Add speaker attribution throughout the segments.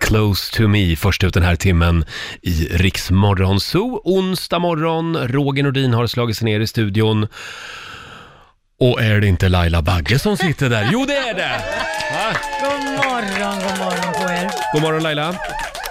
Speaker 1: Close to me först ut den här timmen i Riksmorgon Zoo. Onsdag morgon, Roger Nordin har slagit sig ner i studion. Och är det inte Laila Bagge som sitter där? Jo, det är det! Va?
Speaker 2: God morgon, god morgon på er.
Speaker 1: God morgon Laila.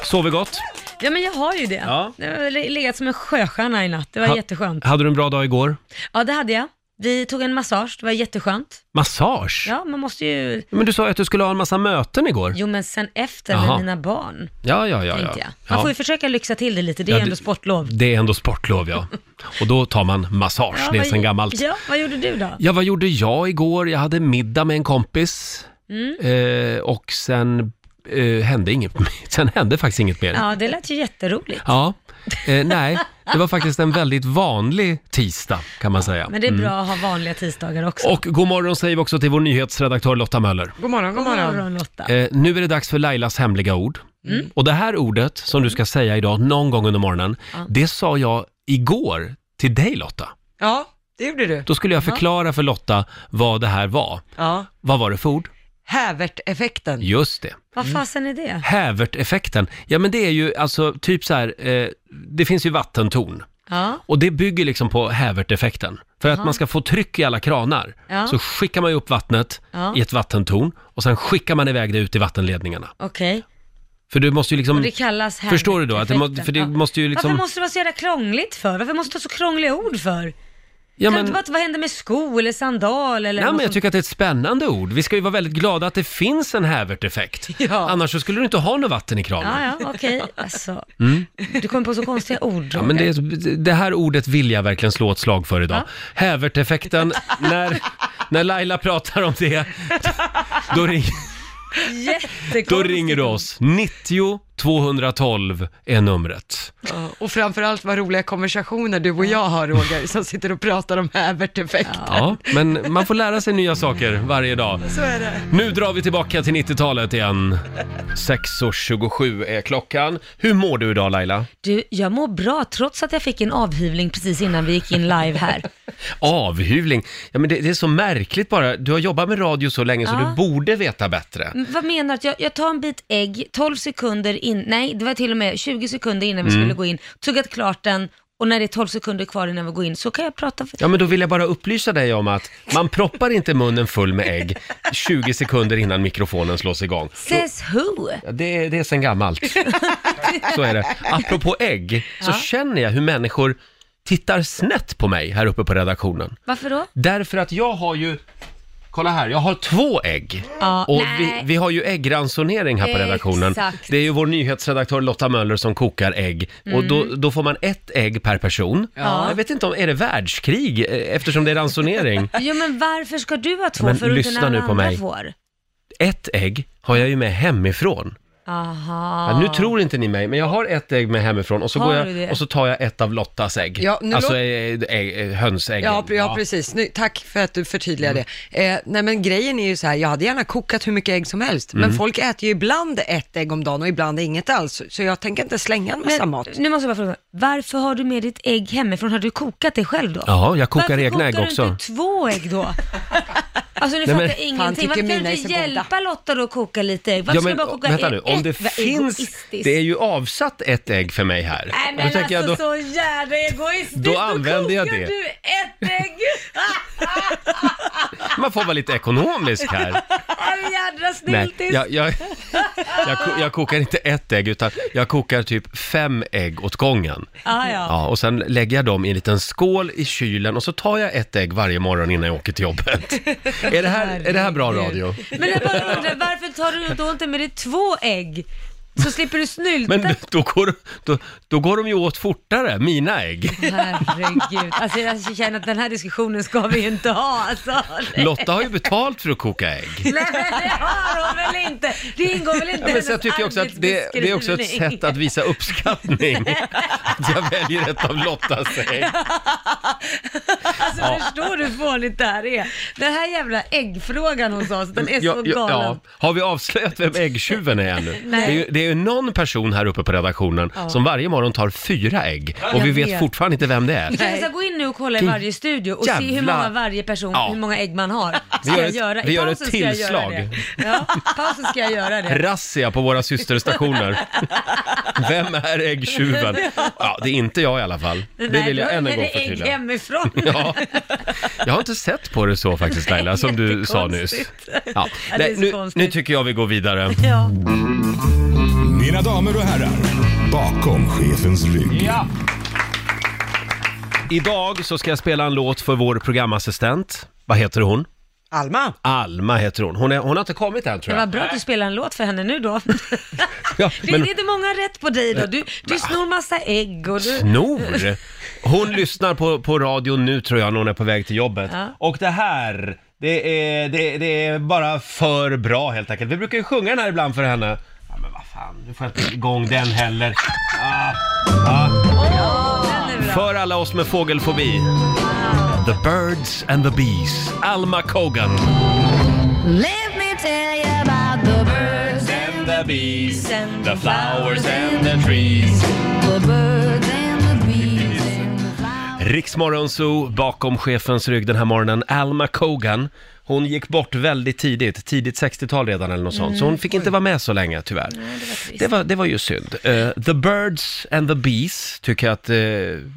Speaker 1: Sover gott?
Speaker 2: Ja, men jag har ju det.
Speaker 1: Ja.
Speaker 2: Jag har le- legat som en sjöstjärna i natt. Det var
Speaker 1: Ha-
Speaker 2: jätteskönt.
Speaker 1: Hade du en bra dag igår?
Speaker 2: Ja, det hade jag. Vi tog en massage, det var jätteskönt.
Speaker 1: Massage?
Speaker 2: Ja, man måste ju...
Speaker 1: Men du sa ju att du skulle ha en massa möten igår.
Speaker 2: Jo, men sen efter
Speaker 1: Jaha.
Speaker 2: med mina barn,
Speaker 1: Ja, ja, ja.
Speaker 2: tänkte
Speaker 1: ja.
Speaker 2: jag. Man
Speaker 1: ja.
Speaker 2: får ju försöka lyxa till det lite, det är
Speaker 1: Ja,
Speaker 2: ändå
Speaker 1: det-
Speaker 2: sportlov.
Speaker 1: Det är ändå sportlov, ja. Och då tar man massage, det är
Speaker 2: vad-
Speaker 1: sen gammalt.
Speaker 2: Ja, vad gjorde du då?
Speaker 1: Ja, vad gjorde jag igår? Jag hade middag med en kompis
Speaker 2: Mm.
Speaker 1: eh, och sen eh, hände inget Sen hände faktiskt inget mer. Ja.
Speaker 2: Ja, det lät ju jätteroligt.
Speaker 1: Eh, nej, det var faktiskt en väldigt vanlig tisdag kan man säga.
Speaker 2: Men det är
Speaker 1: Mm.
Speaker 2: bra att ha vanliga tisdagar också.
Speaker 1: Och god morgon säger vi också till vår nyhetsredaktör Lotta Möller.
Speaker 3: God morgon, god
Speaker 2: God
Speaker 3: morgon.
Speaker 2: morgon Lotta.
Speaker 1: Eh, nu är det dags för Lailas hemliga ord.
Speaker 2: Mm.
Speaker 1: Och det här ordet som du ska säga idag någon gång under morgonen,
Speaker 2: Ja.
Speaker 1: det sa jag igår till dig Lotta.
Speaker 3: Ja, det gjorde du.
Speaker 1: Då skulle jag
Speaker 2: Jaha.
Speaker 1: förklara för Lotta vad det här var.
Speaker 3: Ja.
Speaker 1: Vad var det för ord?
Speaker 3: Häverteffekten.
Speaker 1: Just det. Mm.
Speaker 2: Vad fasen är det?
Speaker 1: Häverteffekten, ja men det är ju alltså typ så här, eh, det finns ju vattentorn
Speaker 2: Ja,
Speaker 1: och det bygger liksom på häverteffekten. För att
Speaker 2: Jaha.
Speaker 1: man ska få tryck i alla kranar
Speaker 2: Ja.
Speaker 1: så skickar man ju upp vattnet
Speaker 2: Ja.
Speaker 1: i ett vattentorn och sen skickar man iväg det ut i vattenledningarna.
Speaker 2: okej.
Speaker 1: För du måste ju
Speaker 2: Och
Speaker 1: liksom,
Speaker 2: det kallas
Speaker 1: förstår du då? Att det må,
Speaker 2: Herbert-effekten.
Speaker 1: för det
Speaker 2: Ja.
Speaker 1: måste ju liksom...
Speaker 2: Varför måste det vara så jävla krångligt för? Varför måste det vara så krångliga ord för?
Speaker 1: ja,
Speaker 2: Kan du
Speaker 1: men,
Speaker 2: inte bara, vad händer med sko eller sandal eller
Speaker 1: nej, men
Speaker 2: något
Speaker 1: jag
Speaker 2: sånt?
Speaker 1: tycker att det är ett spännande ord. Vi ska ju vara väldigt glada att det finns en häverteffekt.
Speaker 3: Ja.
Speaker 1: Annars så skulle du inte ha något vatten i kranen. Mm.
Speaker 2: Ja, ja, okej. Alltså, Du kom på så konstiga ord.
Speaker 1: Ja, men
Speaker 2: Roger.
Speaker 1: det, det här ordet vill jag verkligen slå ett slag för idag.
Speaker 2: Ja.
Speaker 1: Häverteffekten, när, när Laila pratar om det, då, ring,
Speaker 2: Jättekonstigt.
Speaker 1: då ringer du oss. 90 212 är numret.
Speaker 3: Ja, Och framförallt vad roliga konversationer du och jag har Roger, som sitter och pratar om häverteffekten.
Speaker 1: Ja, men man får lära sig nya saker varje dag.
Speaker 3: Så är det.
Speaker 1: Nu drar vi tillbaka till 90-talet igen. 6.27 är klockan. Hur mår du idag Laila?
Speaker 2: Du, jag mår bra trots att jag fick en avhyvling precis innan vi gick in live här.
Speaker 1: Avhyvling. Ja, men det, det är så märkligt bara. Du har jobbat med radio så länge så
Speaker 2: Ja.
Speaker 1: du borde veta bättre.
Speaker 2: Men Vad menar du? att Jag, jag tar en bit ägg, 12 sekunder in, nej det var till och med 20 sekunder innan vi skulle
Speaker 1: Mm.
Speaker 2: gå in, tuggat klart den och när det är 12 sekunder kvar innan vi går in så kan jag prata. För...
Speaker 1: Ja, men då vill jag bara upplysa dig om att man proppar inte munnen full med ägg 20 sekunder innan mikrofonen slås igång.
Speaker 2: Says who?
Speaker 1: Ja, Det, är- det är sen gammalt. Så är det. Apropå ägg, så
Speaker 2: Ja.
Speaker 1: känner jag hur människor tittar snett på mig här uppe på redaktionen.
Speaker 2: Varför då?
Speaker 1: Därför att jag har ju, kolla här, jag har två ägg.
Speaker 2: Ja,
Speaker 1: Och
Speaker 2: nej.
Speaker 1: vi, vi har ju äggransonering här på redaktionen.
Speaker 2: Exakt.
Speaker 1: Det är ju vår nyhetsredaktör Lotta Möller som kokar ägg. Och då, då får man ett ägg per person.
Speaker 2: Mm. Ja.
Speaker 1: Jag vet inte om, är det världskrig eh, eftersom det är ransonering?
Speaker 2: Jo men varför ska du ha två
Speaker 1: Men
Speaker 2: för att
Speaker 1: lyssna
Speaker 2: inte
Speaker 1: nu
Speaker 2: alla
Speaker 1: på
Speaker 2: andra
Speaker 1: mig.
Speaker 2: får?
Speaker 1: Ett ägg har jag ju med hemifrån.
Speaker 2: Aha.
Speaker 1: Ja, nu tror inte ni mig, men jag har ett ägg med hemifrån och så,
Speaker 2: Har
Speaker 1: går
Speaker 2: du det?
Speaker 1: jag, och så tar jag ett av Lottas ägg.
Speaker 3: Ja, nu
Speaker 1: alltså
Speaker 3: låt-
Speaker 1: ägg, ägg, hönsäggen.
Speaker 3: Ja, pre- ja, precis. Sny- Tack för att du förtydligar
Speaker 1: Mm.
Speaker 3: det. Eh, nej, men grejen är ju så här, jag hade gärna kokat hur mycket ägg som helst,
Speaker 1: Mm.
Speaker 3: men folk äter ju ibland ett ägg om dagen och ibland inget alls, så jag tänker inte slänga en massa
Speaker 2: Men,
Speaker 3: mat.
Speaker 2: nu måste jag bara fråga, varför har du med ditt ägg hemifrån? Har du kokat det själv då?
Speaker 1: Jaha, jag kokar
Speaker 2: varför
Speaker 1: egna
Speaker 2: kokar
Speaker 1: ägg
Speaker 2: du
Speaker 1: också.
Speaker 2: inte två ägg då? Alltså nu
Speaker 1: Nej,
Speaker 2: fattar
Speaker 1: men-
Speaker 2: jag
Speaker 3: Fan,
Speaker 2: ingenting.
Speaker 3: tycker
Speaker 2: Varför kan
Speaker 3: mina
Speaker 2: du
Speaker 3: är
Speaker 2: inte
Speaker 3: så goda.
Speaker 2: hjälpa Lotta då att koka lite ägg? Varför
Speaker 1: Ja,
Speaker 2: ska
Speaker 1: men
Speaker 2: du bara koka
Speaker 1: vänta
Speaker 2: ägg?
Speaker 1: nu, om det
Speaker 2: Ett, vad
Speaker 1: finns,
Speaker 2: egoistiskt.
Speaker 1: det är ju avsatt ett ägg för mig här.
Speaker 2: Nej
Speaker 1: Då
Speaker 2: men alltså
Speaker 1: tänker jag, då-
Speaker 2: så jävla egoistiskt.
Speaker 1: Då använder jag
Speaker 2: kokar
Speaker 1: det.
Speaker 2: du ett ägg.
Speaker 1: Man får vara lite ekonomisk här.
Speaker 2: Är du jädra
Speaker 1: Nej,
Speaker 2: sniltis?
Speaker 1: jag, jag, jag, ko- jag kokar inte ett ägg utan jag kokar typ fem ägg åt gången.
Speaker 2: Ah, ja.
Speaker 1: Ja, och sen lägger jag dem i en liten skål i kylen och så tar jag ett ägg varje morgon innan jag åker till jobbet. är, det här, är det här bra radio?
Speaker 2: Men jag bara undrar, varför tar du då inte med dig två ägg? Så slipper du snylta
Speaker 1: Men då går, då, då går de ju åt fortare, mina ägg.
Speaker 2: Herregud, alltså jag känner att den här diskussionen ska vi ju inte ha alltså.
Speaker 1: Lotta har ju betalt för att koka ägg.
Speaker 2: Nej men det har hon väl inte? Det ingår väl inte
Speaker 1: Ja, men så jag tycker också att det, det är också ett sätt att visa uppskattning. Att jag väljer ett av Lottas ägg.
Speaker 2: Alltså förstår du hur fånigt det här är? Den här jävla äggfrågan hos oss, den är så
Speaker 1: Ja, ja,
Speaker 2: galen.
Speaker 1: ja. Har vi avslöjat vem äggtjuven är ännu?
Speaker 2: Nej.
Speaker 1: Det är, ju- det är det är någon person här uppe på redaktionen som varje morgon tar fyra ägg och vi
Speaker 2: Jag
Speaker 1: vet,
Speaker 2: vet.
Speaker 1: fortfarande inte vem det är.
Speaker 2: Jag ska gå in nu och kolla i
Speaker 1: Du
Speaker 2: varje studio och se hur
Speaker 1: jävla-
Speaker 2: många varje person,
Speaker 1: Ja.
Speaker 2: hur många ägg man har.
Speaker 1: Vi
Speaker 2: Ska
Speaker 1: gör
Speaker 2: jag
Speaker 1: ett-
Speaker 2: göra. I
Speaker 1: vi gör ett
Speaker 2: pausen ska jag göra
Speaker 1: tillslag.
Speaker 2: det. Ja, pausen ska jag göra det.
Speaker 1: Razzia på våra systerstationer. Vem är äggtjuven? Ja, det är inte jag i alla fall. Det
Speaker 2: Nej,
Speaker 1: vill
Speaker 2: då
Speaker 1: jag än en
Speaker 2: är
Speaker 1: gång
Speaker 2: det ägg
Speaker 1: förtydliga.
Speaker 2: hemifrån.
Speaker 1: Ja. Jag har inte sett på det så faktiskt Laila, som du sa nyss.
Speaker 2: Jättekonstigt.
Speaker 1: Ja.
Speaker 2: Ja, det är
Speaker 1: Nej,
Speaker 2: så
Speaker 1: nu,
Speaker 2: konstigt.
Speaker 1: nu tycker jag vi går vidare.
Speaker 2: Ja.
Speaker 4: Mina damer och herrar, bakom chefens rygg.
Speaker 1: Idag så ska jag spela en låt för vår programassistent. Vad heter hon?
Speaker 3: Alma,
Speaker 1: Alma heter hon. Hon, är, hon har inte kommit än
Speaker 2: Det
Speaker 1: tror
Speaker 2: var
Speaker 1: jag.
Speaker 2: bra att du spelade en låt för henne nu då.
Speaker 1: Ja,
Speaker 2: Det är inte många rätt på dig då. Du, du snor massa ägg och du...
Speaker 1: Snor! Hon lyssnar på, på radion nu tror jag när hon är på väg till jobbet.
Speaker 2: Ja.
Speaker 1: Och det här, det är, det, det är bara för bra helt enkelt. Vi brukar ju sjunga den här ibland för henne. Ja men vad fan, nu får jag inte igång den heller. Ah, ah.
Speaker 2: Den är bra.
Speaker 1: För alla oss med fågelfobi. The birds and the bees. Alma Kogan.
Speaker 5: Let me tell you about the birds,
Speaker 1: And the bees,
Speaker 2: and the flowers and the
Speaker 1: trees.
Speaker 5: the birds and the bees and the flowers.
Speaker 1: Riksmorgonzoo bakom chefens rygg den här morgonen, Alma Kogan. Hon gick bort väldigt tidigt, tidigt 60-tal redan eller något sånt, så hon fick inte vara med så länge tyvärr. Mm. det, var, det var ju synd. Eh, the Birds and the Bees tycker jag att eh,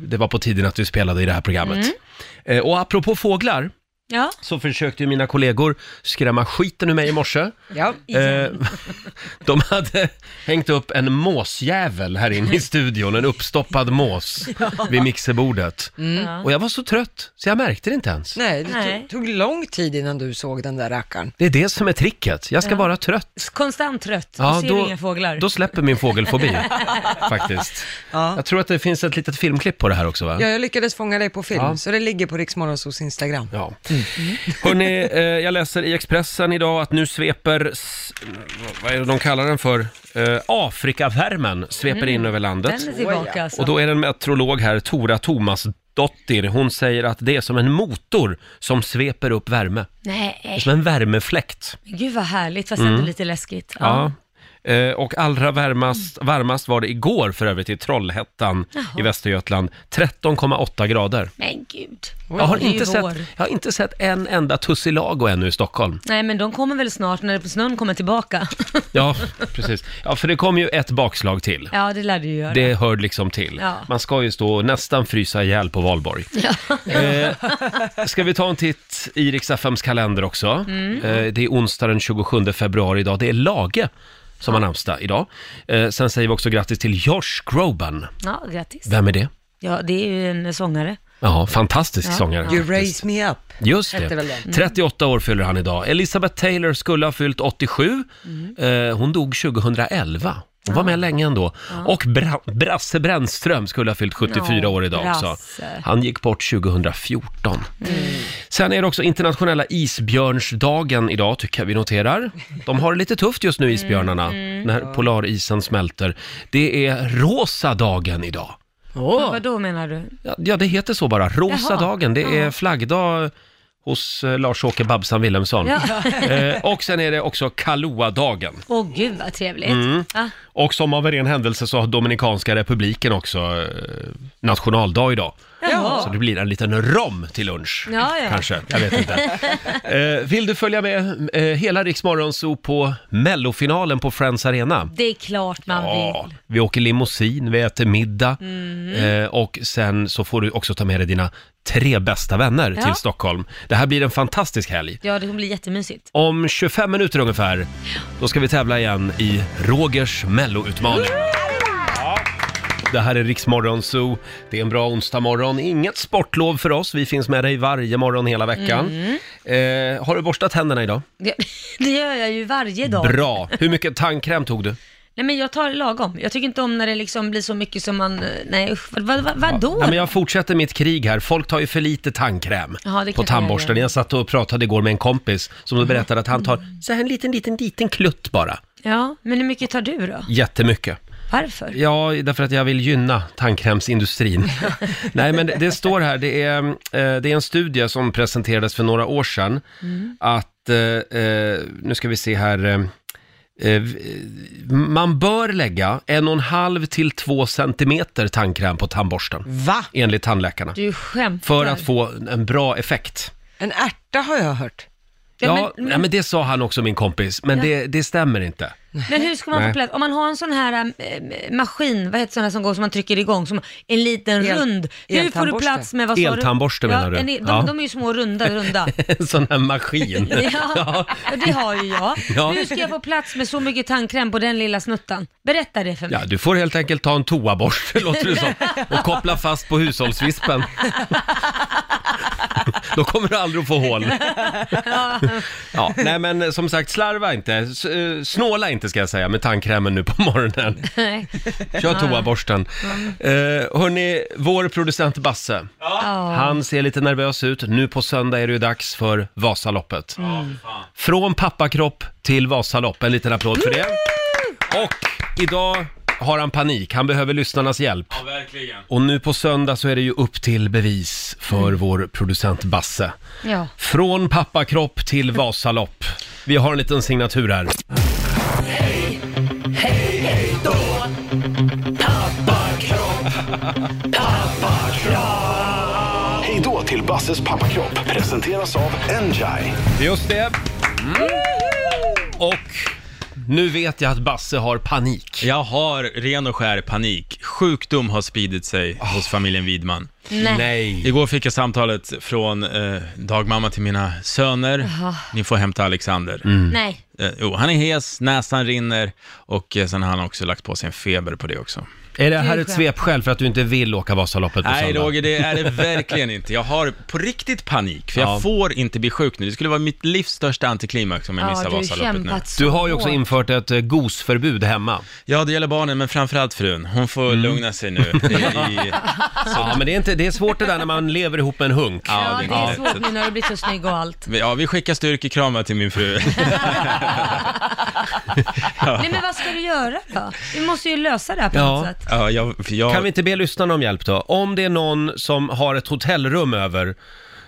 Speaker 1: det var på tiden att du spelade i det här programmet. Eh, och apropå fåglar,
Speaker 2: Ja,
Speaker 1: så försökte ju mina kollegor skrämma skiten ur mig i morse.
Speaker 3: ja.
Speaker 1: Eh, de hade hängt upp en måsjävel här inne i studion, en uppstoppad mås vid mixerbordet.
Speaker 2: Mm.
Speaker 1: Och jag var så trött, så jag märkte det inte ens.
Speaker 3: Mm. Nej, det
Speaker 2: Nej.
Speaker 3: tog- tog lång tid innan du såg den där rackaren.
Speaker 1: Det är det som är tricket, jag ska vara trött.
Speaker 2: konstant trött. och ser inga fåglar.
Speaker 1: då släpper min fågelfobi faktiskt. Jag tror att det finns ett litet filmklipp på det här också va?
Speaker 3: Ja, jag lyckades fånga dig på film,
Speaker 1: Ja.
Speaker 3: så det ligger på Riksmorgonsos Instagram.
Speaker 1: Ja. Hörrni, eh, jag läser i Expressen idag att nu sveper, s- vad är det de kallar den för, eh, Afrikavärmen sveper in över landet.
Speaker 2: Mm. Den är tillbaka alltså.
Speaker 1: Och då är det en meteorolog här, Tora Thomas Dottir, hon säger att det är som en motor som sveper upp värme.
Speaker 2: Nej,
Speaker 1: Som en värmefläkt.
Speaker 2: men gud vad härligt fast ändå lite läskigt.
Speaker 1: Mm. Ja. Eh, Och allra varmast, varmast var det igår för övrigt i Trollhättan i Västergötland. 13,8 grader.
Speaker 2: Men gud.
Speaker 1: Jag har,
Speaker 2: Det är ju
Speaker 1: inte sett,
Speaker 2: vår.
Speaker 1: jag har inte sett en enda tussilago ännu i Stockholm.
Speaker 2: Nej, men de kommer väl snart när snön kommer tillbaka.
Speaker 1: Ja, precis. Ja, för det kom ju ett bakslag till.
Speaker 2: ja, det lär du ju göra.
Speaker 1: Det hör liksom till.
Speaker 2: Ja.
Speaker 1: Man ska ju stå och nästan frysa ihjäl på valborg. Eh, ska vi ta en titt i Rix FMs kalender också?
Speaker 2: Mm.
Speaker 1: Eh, det är onsdag den 27 februari idag. Det är Lage som har namnsdag idag. Eh, sen säger vi också grattis till Josh Groban.
Speaker 2: Ja, grattis.
Speaker 1: Vem är det?
Speaker 2: Ja, det är ju en sångare.
Speaker 1: Ja,
Speaker 2: Ja.
Speaker 1: fantastisk
Speaker 2: Mm.
Speaker 1: sångare.
Speaker 3: You
Speaker 1: faktiskt.
Speaker 3: raise me up.
Speaker 1: Just
Speaker 3: hette väl
Speaker 1: det.
Speaker 3: den. Mm.
Speaker 1: 38 år fyller han idag. Elizabeth Taylor skulle ha fyllt 87.
Speaker 3: Mm.
Speaker 1: Eh, hon dog 2011. Hon
Speaker 3: Ah.
Speaker 1: var med länge ändå. Och Bra- Brasse Brännström skulle ha fyllt 74
Speaker 2: Ja,
Speaker 1: år idag också.
Speaker 2: Brasse.
Speaker 1: Han gick bort 2014.
Speaker 3: Mm.
Speaker 1: Sen är det också internationella isbjörnsdagen idag, tycker jag vi noterar. De har det lite tufft just nu, isbjörnarna,
Speaker 3: Mm.
Speaker 1: när polarisen smälter. Det är rosa dagen idag.
Speaker 2: Men Vad då menar du?
Speaker 1: Ja, Ja, det heter så bara. Rosa
Speaker 2: Jaha.
Speaker 1: dagen. Det är flaggdag hos eh, Lars-Åke Babsan Wilhelmsson.
Speaker 2: Ja.
Speaker 1: Eh, och sen är det också Kahlua-dagen.
Speaker 2: Åh gud vad trevligt.
Speaker 1: Mm.
Speaker 2: Ja.
Speaker 1: Och som av en ren händelse så har Dominikanska republiken också eh, nationaldag idag. Så
Speaker 2: Jaha.
Speaker 1: det blir en liten rom till lunch,
Speaker 2: Ja, ja.
Speaker 1: kanske. Jag vet inte. eh, vill du följa med eh, hela Rix Morgonzoo på mellofinalen på Friends Arena?
Speaker 2: Det är klart man
Speaker 1: Ja,
Speaker 2: vill. Mm.
Speaker 1: vi åker limousin, vi äter middag eh, och sen så får du också ta med dig dina tre bästa vänner
Speaker 2: Ja.
Speaker 1: till Stockholm. Det här blir en fantastisk helg.
Speaker 2: Ja, det kommer bli jättemysigt.
Speaker 1: Om 25 minuter ungefär, då ska vi tävla igen i Rogers Mello-utmaning. Ja. Det här är Riksmorgon Zoo. Det är en bra onsdagmorgon. Inget sportlov för oss. Vi finns med dig varje morgon hela veckan.
Speaker 2: Mm.
Speaker 1: Eh, har du borstat tänderna idag?
Speaker 2: Det, det gör jag ju varje dag.
Speaker 1: Bra! Hur mycket tandkräm tog du?
Speaker 2: Nej men jag tar lagom. Jag tycker inte om när det liksom blir så mycket som man, eh, nej usch, vad, vad, vad, vadå?
Speaker 1: Ja, men jag fortsätter mitt krig här. Folk tar ju för lite tandkräm
Speaker 2: Ja, det Mm.
Speaker 1: på
Speaker 2: kanske
Speaker 1: tandborsten.
Speaker 2: jag gör.
Speaker 1: Jag satt och pratade igår med en kompis som berättade att han tar så här en liten, liten, liten klutt bara.
Speaker 2: Ja, men hur mycket tar du då?
Speaker 1: Jättemycket.
Speaker 2: Varför?
Speaker 1: Ja, därför att jag vill gynna tandkrämsindustrin. Nej, men det, det står här, det är, eh, det är en studie som
Speaker 2: Mm.
Speaker 1: presenterades för några år sedan, att, eh, eh, nu ska vi se här, eh, eh, v- man bör lägga en och en halv till två centimeter tandkräm på tandborsten,
Speaker 3: Va?
Speaker 1: enligt tandläkarna.
Speaker 2: Du skämtar.
Speaker 1: För att få en bra effekt.
Speaker 3: En ärta har jag hört.
Speaker 1: Ja,
Speaker 2: men-
Speaker 1: ja, men,
Speaker 2: men-
Speaker 1: det sa han också min kompis, men det, det stämmer inte.
Speaker 2: Men hur ska man
Speaker 1: Nej.
Speaker 2: få plats? Om man har en sån här eh, maskin, vad heter såna som går som man trycker igång, som en liten
Speaker 3: El-
Speaker 2: rund. Hur får du
Speaker 3: eltandborste.
Speaker 2: plats med, vad sa du?
Speaker 1: Eltandborste menar du?
Speaker 2: en- de,
Speaker 1: Ja.
Speaker 2: de är ju små runda, runda.
Speaker 1: En sån här maskin.
Speaker 2: Ja, det har ju jag.
Speaker 1: Ja.
Speaker 2: Hur ska jag få plats med så mycket tandkräm på den lilla snuttan? Berätta det för mig.
Speaker 1: Ja, du får helt enkelt ta en toaborste, låter det som, och koppla fast på hushållsvispen. Då kommer du aldrig att få hål. Ja, nej men som sagt, slarva inte. S- eh, Snåla inte ska jag säga med tandkrämen nu på morgonen.
Speaker 2: Nej.
Speaker 1: Kör toaborsten. Eh, hörni, vår producent Basse, han ser lite nervös ut. Nu på söndag är det ju dags för Vasaloppet.
Speaker 2: Mm.
Speaker 1: Från pappakropp till Vasalopp. En liten applåd för det. Och idag har han panik. Han behöver lyssnarnas hjälp.
Speaker 6: Ja, verkligen.
Speaker 1: Och nu på söndag så är det ju upp till bevis för vår producent Basse.
Speaker 2: Mm. Ja.
Speaker 1: Från pappakropp till Vasalopp. Vi har en liten signatur här.
Speaker 7: Hej då till Basses pappakropp presenteras av Enjai.
Speaker 1: Just det.
Speaker 7: Mm.
Speaker 1: Och nu vet jag att Basse har panik.
Speaker 6: Jag har ren och skär panik. Sjukdom har spridit sig hos familjen Widman.
Speaker 2: Nej.
Speaker 1: Ah. Nej.
Speaker 6: Igår fick jag samtalet från eh, dagmamma till mina söner. Ni får hämta Alexander.
Speaker 1: Mm.
Speaker 2: Nej.
Speaker 6: Eh, jo, han är hes, näsan rinner och eh, sen har han också lagt på sig en feber på det också.
Speaker 1: Är det här ett
Speaker 2: skönt.
Speaker 1: svepskäl för att du inte vill åka Vasaloppet på
Speaker 6: Nej
Speaker 1: söndag?
Speaker 6: Roger, det är det verkligen inte. Jag har på riktigt panik, för jag
Speaker 1: Ja.
Speaker 6: får inte bli sjuk nu. Det skulle vara mitt livs största antiklimax om jag
Speaker 2: Ja,
Speaker 6: missar
Speaker 2: du har
Speaker 6: Vasaloppet nu.
Speaker 2: kämpat så
Speaker 1: Du har ju också
Speaker 2: hårt.
Speaker 1: infört ett eh, gosförbud hemma.
Speaker 6: Ja, det gäller barnen, men framförallt frun. Hon får lugna sig nu. I, i,
Speaker 1: Ja, men det är, inte, det är svårt det där när man lever ihop med en hunk.
Speaker 2: Ja, det är
Speaker 6: ja.
Speaker 2: svårt nu när du blir så snygg och allt.
Speaker 6: Ja, vi skickar styrkekramar till min fru.
Speaker 2: Nej men vad ska du göra då? Vi måste ju lösa det här på
Speaker 1: Ja.
Speaker 2: något sätt.
Speaker 6: Ja, jag, jag,
Speaker 1: Kan vi inte be lyssnarna om hjälp då? Om det är någon som har ett hotellrum över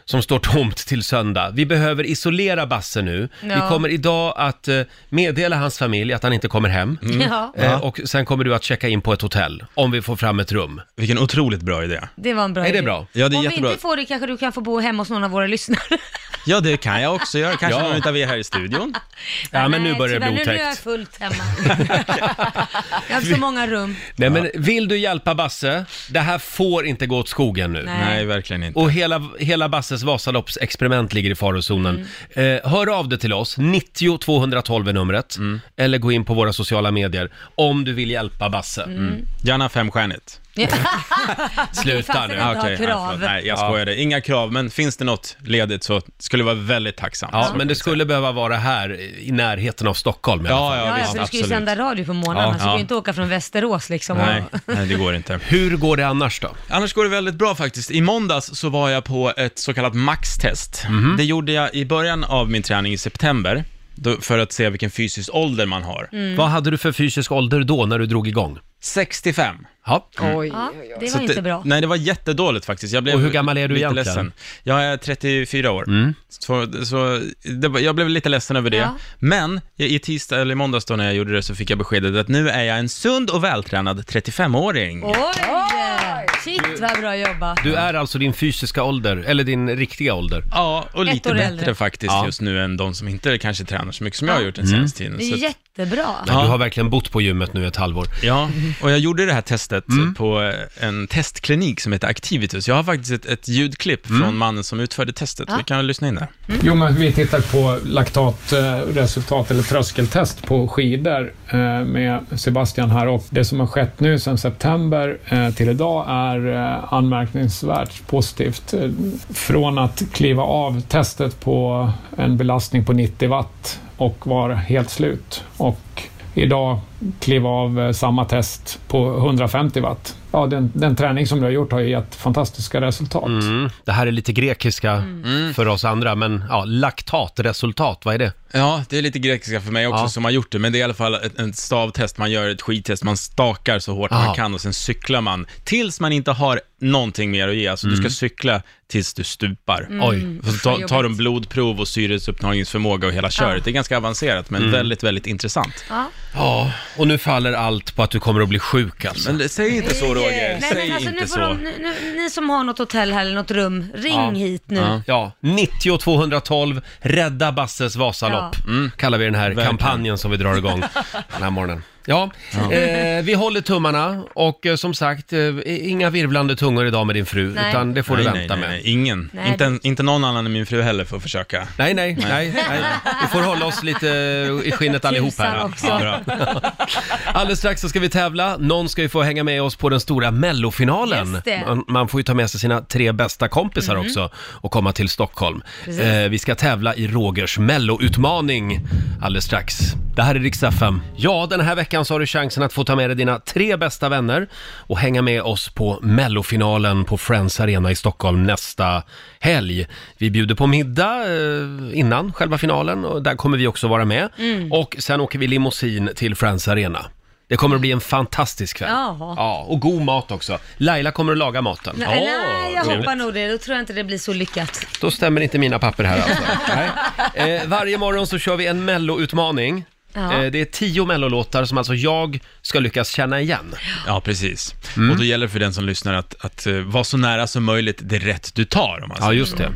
Speaker 1: som står tomt till söndag. Vi behöver isolera Basse nu. Vi
Speaker 2: Ja.
Speaker 1: kommer idag att eh, meddela hans familj att han inte kommer hem.
Speaker 6: Mm.
Speaker 2: Ja,
Speaker 1: Eh, Och sen kommer du att checka in på ett hotell, om vi får fram ett rum.
Speaker 6: Vilken otroligt bra idé.
Speaker 2: det var en bra
Speaker 1: Är det
Speaker 2: idé.
Speaker 1: bra?
Speaker 6: Ja, det är
Speaker 2: Om
Speaker 6: jättebra.
Speaker 2: vi inte får det kanske du kan få bo hemma hos någon av våra lyssnare.
Speaker 6: Ja, det kan jag också göra. Kanske
Speaker 1: Ja.
Speaker 6: någon utav er här i studion.
Speaker 1: Ja, men nu
Speaker 2: Nej,
Speaker 1: börjar det bli
Speaker 2: tyvärr, Nu är jag
Speaker 1: otäckt.
Speaker 2: fullt hemma. jag har så många rum.
Speaker 1: Nej, men vill du hjälpa Basse? Det här får inte gå åt skogen nu.
Speaker 2: Nej.
Speaker 6: Nej, verkligen inte.
Speaker 1: Och hela, hela Basses Vasaloppsexperiment ligger i farozonen.
Speaker 2: Mm.
Speaker 1: Eh, hör av dig till oss, 90 212 är numret.
Speaker 6: Mm.
Speaker 1: Eller gå in på våra sociala medier om du vill hjälpa Basse.
Speaker 2: Mm.
Speaker 6: Mm. Gärna femstjärnigt.
Speaker 1: Sluta nu.
Speaker 2: Det är inte att ha krav.
Speaker 6: nej, förlåt. nej, jag
Speaker 1: Ja.
Speaker 6: skojade. Inga krav, men finns det något ledigt så skulle jag vara väldigt tacksam.
Speaker 1: Ja,
Speaker 6: Så.
Speaker 1: men det skulle behöva vara här i närheten av Stockholm. i alla fall.
Speaker 6: ja, ja,
Speaker 2: Ja, ja,
Speaker 6: visst,
Speaker 2: för du ska ju
Speaker 6: absolut.
Speaker 2: sända radio på morgnarna, så
Speaker 1: Ja,
Speaker 2: du kan
Speaker 6: ja.
Speaker 2: ju inte åka från Västerås liksom.
Speaker 6: Nej,
Speaker 2: Och...
Speaker 6: nej, det går inte.
Speaker 1: Hur går det annars då?
Speaker 6: Annars går det väldigt bra faktiskt. I måndags så var jag på ett så kallat maxtest.
Speaker 1: Mhm.
Speaker 6: Det gjorde jag i början av min träning i september, då, för att se vilken fysisk ålder man har.
Speaker 2: Mm.
Speaker 1: Vad hade du för fysisk ålder då, när du drog igång?
Speaker 6: 65.
Speaker 1: Ja.
Speaker 3: Oj.
Speaker 2: Ja, det
Speaker 6: Mm. Så
Speaker 2: var
Speaker 6: att
Speaker 2: inte bra.
Speaker 6: Nej, det var jättedåligt faktiskt. Jag blev
Speaker 1: Och hur gammal är du
Speaker 6: lite
Speaker 1: egentligen? Mm.
Speaker 6: Ledsen. Jag är 34 år. Så, så det, var- jag blev lite ledsen över det.
Speaker 2: Ja.
Speaker 6: Men jag- i tisdag eller i måndags då när jag gjorde det så fick jag beskedet att nu är jag en sund och vältränad 35-åring.
Speaker 2: Oj! Shit vad bra jobbat.
Speaker 1: Du är alltså din fysiska ålder, eller din riktiga ålder.
Speaker 6: Ja, och
Speaker 2: Ett
Speaker 6: lite
Speaker 2: år
Speaker 6: bättre
Speaker 2: äldre.
Speaker 6: faktiskt
Speaker 1: Ja. Mm.
Speaker 6: just nu än de som inte kanske tränar så mycket som jag har gjort den senaste tiden.
Speaker 2: Det
Speaker 6: Så
Speaker 2: är
Speaker 6: att-
Speaker 2: jättebra.
Speaker 1: Men Du har verkligen bott på gymmet nu ett halvår. Mm.
Speaker 6: Ja, och jag gjorde det här testet på eh, en testklinik som heter Activitus. Jag har faktiskt ett, ett ljudklipp
Speaker 1: Mm.
Speaker 6: från mannen som utförde testet. Vi kan lyssna in där.
Speaker 8: Jonas, vi tittar på laktatresultat eller tröskeltest på skidor eh, med Sebastian här och det som har skett nu sedan september eh, till idag är eh, anmärkningsvärt positivt. Eh, Från att kliva av testet på en belastning på 90 watt och vara helt slut och idag kliva av eh, samma test på 150 watt. ja, den, den träning som du har gjort har ju gett fantastiska resultat.
Speaker 1: Mm. Det här är lite grekiska
Speaker 2: Mm.
Speaker 6: Mm.
Speaker 1: för oss andra, men ja, laktatresultat, vad är det?
Speaker 6: Ja, det är lite grekiska för mig också
Speaker 1: Ja.
Speaker 6: som har gjort det, men det är i alla fall ett, ett stavtest, man gör ett skidtest, man stakar så hårt
Speaker 1: Aha.
Speaker 6: man kan och sen cyklar man tills man inte har någonting mer att ge, alltså du ska cykla tills du stupar.
Speaker 1: Oj.
Speaker 6: Och Så ta,
Speaker 2: Mm. Vad
Speaker 6: tar de
Speaker 2: jobbigt.
Speaker 6: blodprov och syresupptagningsförmåga och hela köret. Det är ganska avancerat, men väldigt, väldigt intressant.
Speaker 1: Ja, och nu faller allt på att du kommer att bli sjuk alltså.
Speaker 6: Men det- säg inte så Roger,
Speaker 2: Nej
Speaker 6: säg
Speaker 2: men alltså
Speaker 6: inte
Speaker 2: nu får
Speaker 6: så.
Speaker 2: de, nu, nu, ni som har något hotell här eller något rum, ring
Speaker 1: Ja.
Speaker 2: hit nu.
Speaker 6: Ja.
Speaker 1: Ja, 90 212, Rädda Basses Vasalopp, kallar vi den här
Speaker 6: Mm. Verkligen.
Speaker 1: kampanjen som vi drar igång den här morgonen. Ja, Eh, vi håller tummarna och eh, som sagt, eh, inga virvlande tungor idag med din fru,
Speaker 2: Nej.
Speaker 1: utan det får du
Speaker 6: nej,
Speaker 1: vänta
Speaker 6: nej,
Speaker 1: med.
Speaker 6: nej, ingen.
Speaker 2: Nej, det-
Speaker 6: inte, en- inte någon annan än min fru heller får försöka.
Speaker 1: Nej, nej, nej, nej. Vi får hålla oss lite eh, i skinnet allihop
Speaker 2: Tusan
Speaker 1: här.
Speaker 2: också.
Speaker 6: Ja, bra.
Speaker 1: Alldeles strax så ska vi tävla. Någon ska ju få hänga med oss på den stora mellofinalen.
Speaker 2: Just det. Mhm.
Speaker 1: Man, man får ju ta med sig sina tre bästa kompisar också och komma till Stockholm.
Speaker 2: Precis.
Speaker 1: Eh, vi ska tävla i Rogers melloutmaning alldeles strax. Det här är Rix FM. Ja, den här veckan så har du chansen att få ta med dig dina tre bästa vänner och hänga med oss på mellofinalen på Friends Arena i Stockholm nästa helg. Vi bjuder på middag eh, innan själva finalen och där kommer vi också vara med.
Speaker 2: Mm.
Speaker 1: Och sen åker vi limousin till Friends Arena. Det kommer att bli en fantastisk kväll.
Speaker 2: Jaha.
Speaker 1: Ja, och god mat också. Laila kommer att laga maten.
Speaker 2: Nej,
Speaker 1: Åh,
Speaker 2: nej, jag
Speaker 1: trevligt.
Speaker 2: hoppar nog det. Då tror jag inte det blir så lyckat.
Speaker 1: Då stämmer inte mina papper här alltså. Nej. Eh, varje morgon så kör vi en melloutmaning.
Speaker 2: Ja.
Speaker 1: Eh, det är tio mellolåtar som alltså jag ska lyckas känna igen.
Speaker 6: Ja, precis.
Speaker 1: Mm.
Speaker 6: Och då gäller det för den som lyssnar att, att eh, vara så nära som möjligt det rätt du tar. Om man
Speaker 1: Ja,
Speaker 6: säger
Speaker 1: just
Speaker 6: så.
Speaker 1: det.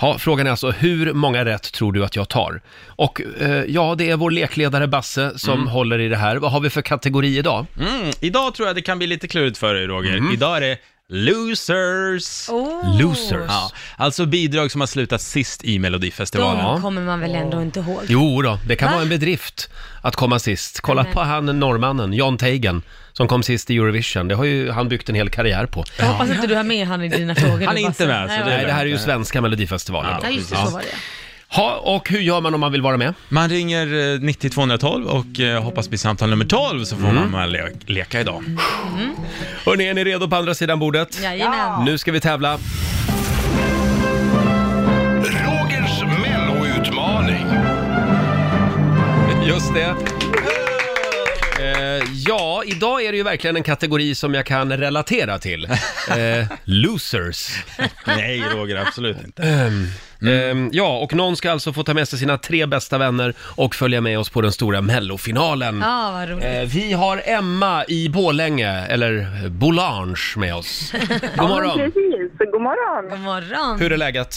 Speaker 1: Ja, frågan är alltså, hur många rätt tror du att jag tar? Och eh, ja, det är vår lekledare Basse som håller i det här. Vad har vi för kategori idag?
Speaker 6: Mm, idag tror jag det kan bli lite klurigt för dig, Roger.
Speaker 1: Mm.
Speaker 6: Idag är det losers.
Speaker 2: Oh,
Speaker 1: Losers.
Speaker 6: Ja, alltså bidrag som har slutat sist i
Speaker 2: de
Speaker 6: Melodifestivalen.
Speaker 2: kommer man väl ändå inte ihåg.
Speaker 1: Jo då, det kan
Speaker 2: Va?
Speaker 1: vara en bedrift att komma sist. Kolla
Speaker 2: Nämen.
Speaker 1: på han norrmannen, John Teigen, som kom sist i Eurovision. Det har ju han byggt en hel karriär på.
Speaker 2: Jag hoppas inte du har med han i dina frågor.
Speaker 6: Han är
Speaker 2: nu, Basse.
Speaker 6: inte med, så
Speaker 2: Nej,
Speaker 6: det
Speaker 1: Nej,
Speaker 2: va?
Speaker 1: det här är ju svenska melodifestivalen
Speaker 6: Ja.
Speaker 1: då.
Speaker 2: Ja, just det, så var det.
Speaker 1: Ha, och hur gör man om man vill vara med?
Speaker 6: Man ringer eh, 90 212 och eh, hoppas bli samtal nummer 12 så får man vara le- leka idag.
Speaker 1: Hörni, Mm. är ni redo på andra sidan bordet?
Speaker 2: Jajamän.
Speaker 1: Nu ska vi tävla.
Speaker 7: Rogers melloutmaning.
Speaker 1: Just det. Eh, ja, idag är det ju verkligen en kategori som jag kan relatera till. Eh, losers.
Speaker 6: Nej, Roger, absolut inte.
Speaker 1: Eh, ja, och någon ska alltså få ta med sig sina tre bästa vänner och följa med oss på den stora mellofinalen.
Speaker 2: Ja, vad roligt.
Speaker 1: Eh, vi har Emma i Bålänge, eller Bolange med oss. God morgon!
Speaker 9: Precis, god morgon.
Speaker 2: God morgon.
Speaker 1: Hur är läget?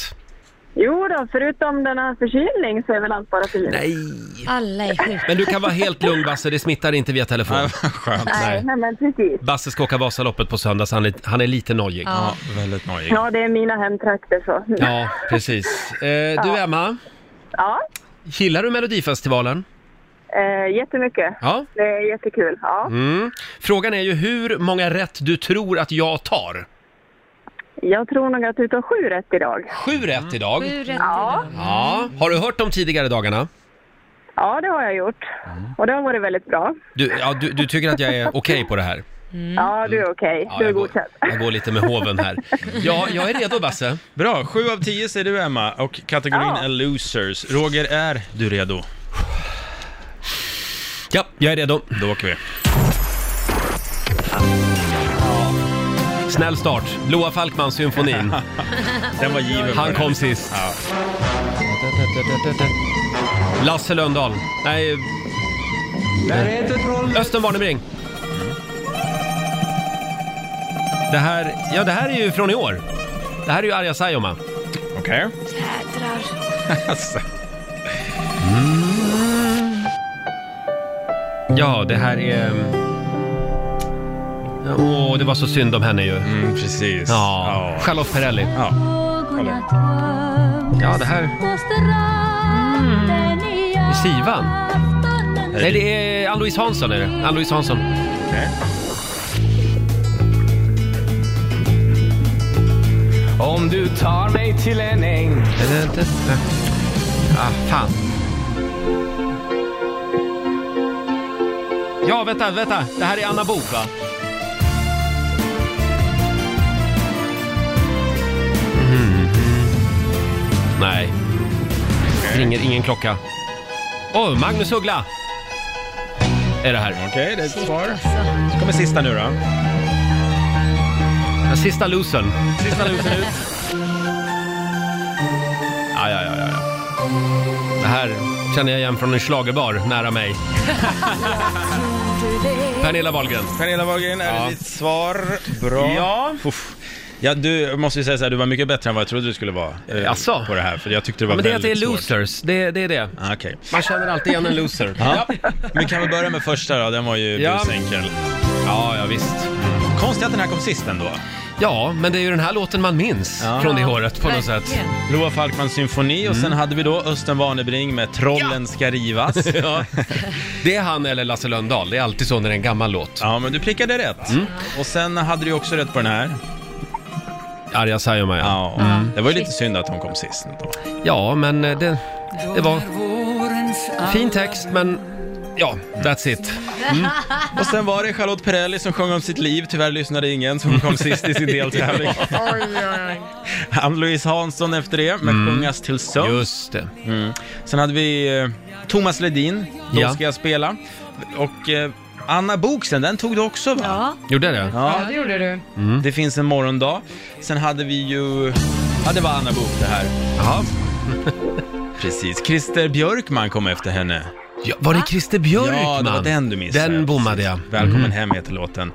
Speaker 9: Jo då, förutom denna förkylning så är väl allt bara fint.
Speaker 1: Nej.
Speaker 2: Alla är sjuka.
Speaker 1: Men du kan vara helt lugn Basse, det smittar inte via telefon.
Speaker 6: Skönt.
Speaker 1: Nej.
Speaker 9: Nej men precis.
Speaker 1: Basse ska åka Vasaloppet på söndag, så han är, han är lite nojig. Ja,
Speaker 6: Ja, väldigt nojig.
Speaker 9: Ja, det är mina hemtrakter så.
Speaker 1: precis. Eh, du Emma,
Speaker 9: Ja,
Speaker 1: gillar du Melodifestivalen?
Speaker 9: eh, jättemycket.
Speaker 1: Ja.
Speaker 9: Det är jättekul. Ja.
Speaker 1: Mm. Frågan är ju hur många rätt du tror att jag tar.
Speaker 9: Jag tror nog att du tar sju rätt idag.
Speaker 1: Sju rätt idag.
Speaker 2: Hur rätt
Speaker 9: Ja.
Speaker 1: Ja. Har du hört de tidigare dagarna?
Speaker 9: Ja, det har jag gjort.
Speaker 1: Mm.
Speaker 9: Och det har varit väldigt bra.
Speaker 1: Du, ja, du, du tycker att jag är okej på det här?
Speaker 2: Mm.
Speaker 9: Ja, du är okej.
Speaker 1: Ja,
Speaker 9: du är
Speaker 1: jag, går,
Speaker 9: godkänd.
Speaker 1: jag går lite med hoven här. Ja, jag är redo Basse.
Speaker 6: Bra, 7 av 10 säger du Emma och kategorin
Speaker 9: Ja.
Speaker 6: är losers. Roger, är du redo?
Speaker 1: Ja, jag är redo.
Speaker 6: Då åker vi.
Speaker 1: Snäll start. Loa Falkman-symfonin.
Speaker 6: Den var given.
Speaker 1: Han
Speaker 6: för
Speaker 1: kom
Speaker 6: dig.
Speaker 1: sist.
Speaker 6: Ja.
Speaker 1: Lasse Lundahl. Nej... Östen Warnerbring. Det här, ja det här är ju från i år. Det här är ju Arja Saijonmaa.
Speaker 6: Okej.
Speaker 2: Jädrar.
Speaker 6: Alltså,
Speaker 1: Ja, det här är... ja, Åh, det var så synd om henne ju.
Speaker 6: Mm, precis.
Speaker 1: Ja, Charlotte Perrelli.
Speaker 6: ja.
Speaker 1: Ja, det här... Sivan? Nej, det är Ann-Louise Hansson är det. Ann-Louise Hansson.
Speaker 6: Okej.
Speaker 10: Om du tar mig till en äng
Speaker 1: Ah, fan. Ja, vänta, vänta. Det här är Anna Bok va? Mhm. Nej. Ringer ingen klocka. Åh, Magnus Uggla! Är det här. Okej,
Speaker 6: det är ett svar. Så kommer sista nu då.
Speaker 1: Den sista losern.
Speaker 6: Sista losern ut.
Speaker 1: Ja, ja, ja, ja, ja. Det här känner jag igen från en schlagerbar nära mig. Pernilla Wahlgren.
Speaker 6: Pernilla Wahlgren är
Speaker 1: Ja.
Speaker 6: det ditt svar. Bra.
Speaker 1: Ja.
Speaker 6: Uff. Ja, du måste ju säga så här, du var mycket bättre än vad jag trodde du skulle vara eh,
Speaker 1: Jaså?
Speaker 6: på det här, för jag tyckte det var
Speaker 1: Alltså. Ja, men det är att det är
Speaker 6: väldigt svårt.
Speaker 1: losers. Det, det är det.
Speaker 6: Ah, Okej.
Speaker 1: Man känner alltid igen en loser.
Speaker 6: Ja. Men kan vi börja med första då, den var ju
Speaker 1: Ja.
Speaker 6: busenkel.
Speaker 1: Ja, ja visst.
Speaker 6: Konstigt att den här kom sist ändå.
Speaker 1: Ja, men det är ju den här låten man minns
Speaker 6: Ja.
Speaker 1: från det året på något sätt. Mm.
Speaker 2: Verkligen.
Speaker 6: Loa Falkmans symfoni och sen hade vi då Östen Warnerbring med Trollen ska rivas.
Speaker 1: Ja. Det är han eller Lasse Lönndahl. Det är alltid så när det är en gammal låt. Mm.
Speaker 6: Ja, men du prickade rätt. Och sen hade du ju också rätt på den här.
Speaker 1: Arja Saijonmaa, ja. Mm.
Speaker 6: Ja, det var ju lite synd att hon kom sist. Då.
Speaker 1: Ja, men eh, det, det var fin text, men ja, that's it.
Speaker 6: Och sen var det Charlotte Perrelli som sjöng om sitt liv, tyvärr lyssnade ingen, som kom sist i sin deltävling. Ann-Louise Hansson efter det, med Sjungas till sömn.
Speaker 1: Mm. Just det.
Speaker 6: Mm. Sen hade vi eh, Thomas Ledin, Då
Speaker 1: Ja.
Speaker 6: ska jag spela. Och eh, Anna Booksen, den tog du också va?
Speaker 2: Ja.
Speaker 1: Gjorde jag det?
Speaker 6: Ja,
Speaker 3: det gjorde du.
Speaker 1: Mm.
Speaker 6: det finns en morgondag. Sen hade vi ju... Ja, det var Anna Book det här.
Speaker 1: Jaha.
Speaker 6: Precis. Christer Björkman kom efter henne.
Speaker 1: Ja, var det Christer Björkman?
Speaker 6: Ja, det var den du missade.
Speaker 1: Den bommade jag. Mm.
Speaker 6: Precis. Välkommen hem heter låten.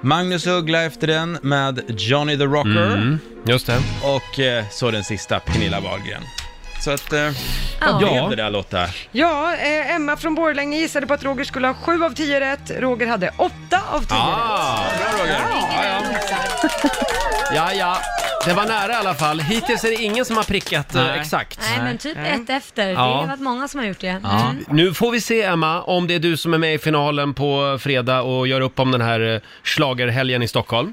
Speaker 6: Magnus Uggla efter den med Johnny the Rocker.
Speaker 1: Mm, just det.
Speaker 6: Och eh, så den sista, Pernilla Wahlgren. Så att, eh, vad
Speaker 1: Ja.
Speaker 6: blev det där Lotta?
Speaker 3: Ja, eh, Emma från Borlänge gissade på att Roger skulle ha sju av tio rätt. Roger hade åtta av tio rätt.
Speaker 1: Ah,
Speaker 6: bra Roger! Ja, ja.
Speaker 1: Ja, ja. Det var nära i alla fall. Hittills är det ingen som har prickat eh,
Speaker 6: Nej.
Speaker 1: exakt.
Speaker 2: Nej, men typ ett efter. Det
Speaker 1: mm. Ja.
Speaker 2: har varit många som har gjort det. Mm.
Speaker 6: Ja.
Speaker 1: Nu får vi se, Emma, om det är du som är med i finalen på fredag och gör upp om den här eh, slagerhelgen i Stockholm.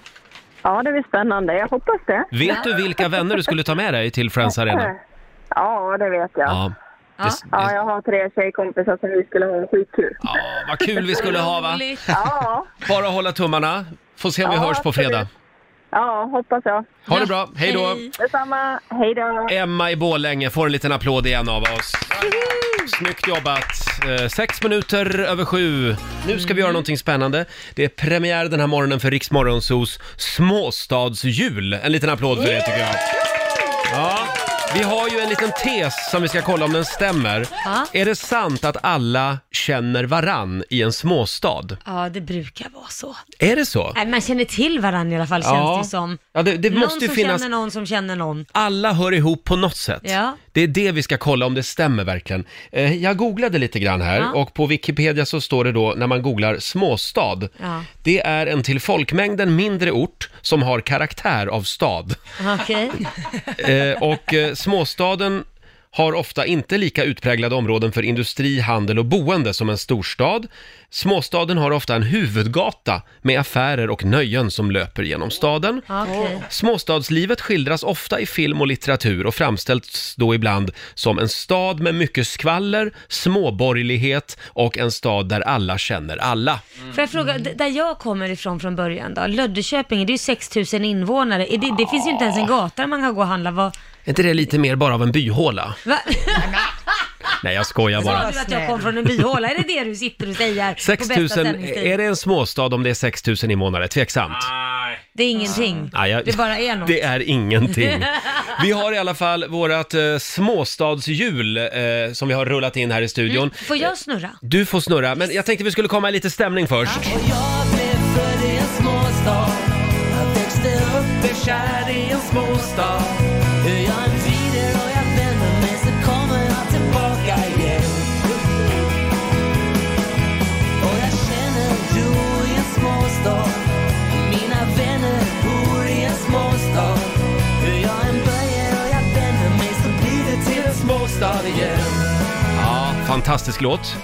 Speaker 9: Ja, det blir spännande. Jag hoppas det.
Speaker 1: Vet du vilka vänner du skulle ta med dig till Friends Arena?
Speaker 9: Ja, det vet jag. Ja.
Speaker 1: Ja. Det,
Speaker 9: Ja,
Speaker 1: det,
Speaker 9: jag har tre tjejkompisar som vi skulle ha skitkul.
Speaker 1: ja, vad kul vi skulle ha, va?
Speaker 2: Roligt.
Speaker 9: Ja,
Speaker 1: Bara hålla tummarna. Får se om vi
Speaker 9: Ja,
Speaker 1: hörs på fredag.
Speaker 9: absolut. ja hoppas jag.
Speaker 1: Ha det bra. Hej då!
Speaker 2: Hej.
Speaker 9: Detsamma. Hej då.
Speaker 1: Emma i Borlänge får en liten applåd igen av oss. Snyggt jobbat! Eh, sex minuter över sju. Nu ska vi göra någonting spännande. Det är premiär den här morgonen för Rix Morgonzos småstadsjul. En liten applåd för det tycker jag. Ja, vi har ju en liten tes som vi ska kolla om den stämmer.
Speaker 2: Ja.
Speaker 1: Är det sant att alla känner varann i en småstad?
Speaker 2: Ja, det brukar vara så.
Speaker 1: Är det så?
Speaker 2: Nej, man känner till varandra i alla fall, känns
Speaker 1: Ja.
Speaker 2: det som.
Speaker 1: Ja, det, det
Speaker 2: någon
Speaker 1: måste ju
Speaker 2: som
Speaker 1: finnas...
Speaker 2: känner någon som känner någon.
Speaker 1: alla hör ihop på något sätt.
Speaker 2: Ja.
Speaker 1: Det är det vi ska kolla om det stämmer verkligen. Eh, Jag googlade lite grann här
Speaker 2: Ja.
Speaker 1: och på Wikipedia så står det då när man googlar småstad.
Speaker 2: Ja.
Speaker 1: Det är en till folkmängden mindre ort som har karaktär av stad.
Speaker 2: Okej.
Speaker 1: Eh, Och eh, småstaden har ofta inte lika utpräglade områden för industri, handel och boende som en storstad. Småstaden har ofta en huvudgata med affärer och nöjen som löper genom staden.
Speaker 2: Ja, Okej.
Speaker 1: Småstadslivet skildras ofta i film och litteratur och framställs då ibland som en stad med mycket skvaller, småborgerlighet och en stad där alla känner alla.
Speaker 2: Får jag
Speaker 1: Mm.
Speaker 2: fråga, d- där jag kommer ifrån från början då? Löddeköping, det är ju 6000 invånare. Är Det, det finns ju inte ens en gata där man kan gå och handla. Vad,
Speaker 1: Är inte det lite mer bara av en byhåla?
Speaker 2: va?
Speaker 1: Nej, jag skojar
Speaker 2: Sa
Speaker 1: bara.
Speaker 2: du att jag kom från en byhåla? Är det det du sitter och säger? på bästa
Speaker 1: 6000,
Speaker 2: sändningstid?
Speaker 1: är det en småstad om det är 6000 invånare? Tveksamt.
Speaker 2: Det är ingenting.
Speaker 1: Nej, jag-
Speaker 2: Det bara är något.
Speaker 1: Det är ingenting. Vi har i alla fall vårt eh, småstadshjul eh, som vi har rullat in här i studion.
Speaker 2: Får jag snurra?
Speaker 1: Du får snurra, men jag tänkte vi skulle komma i lite stämning först. Ja, fantastisk låt.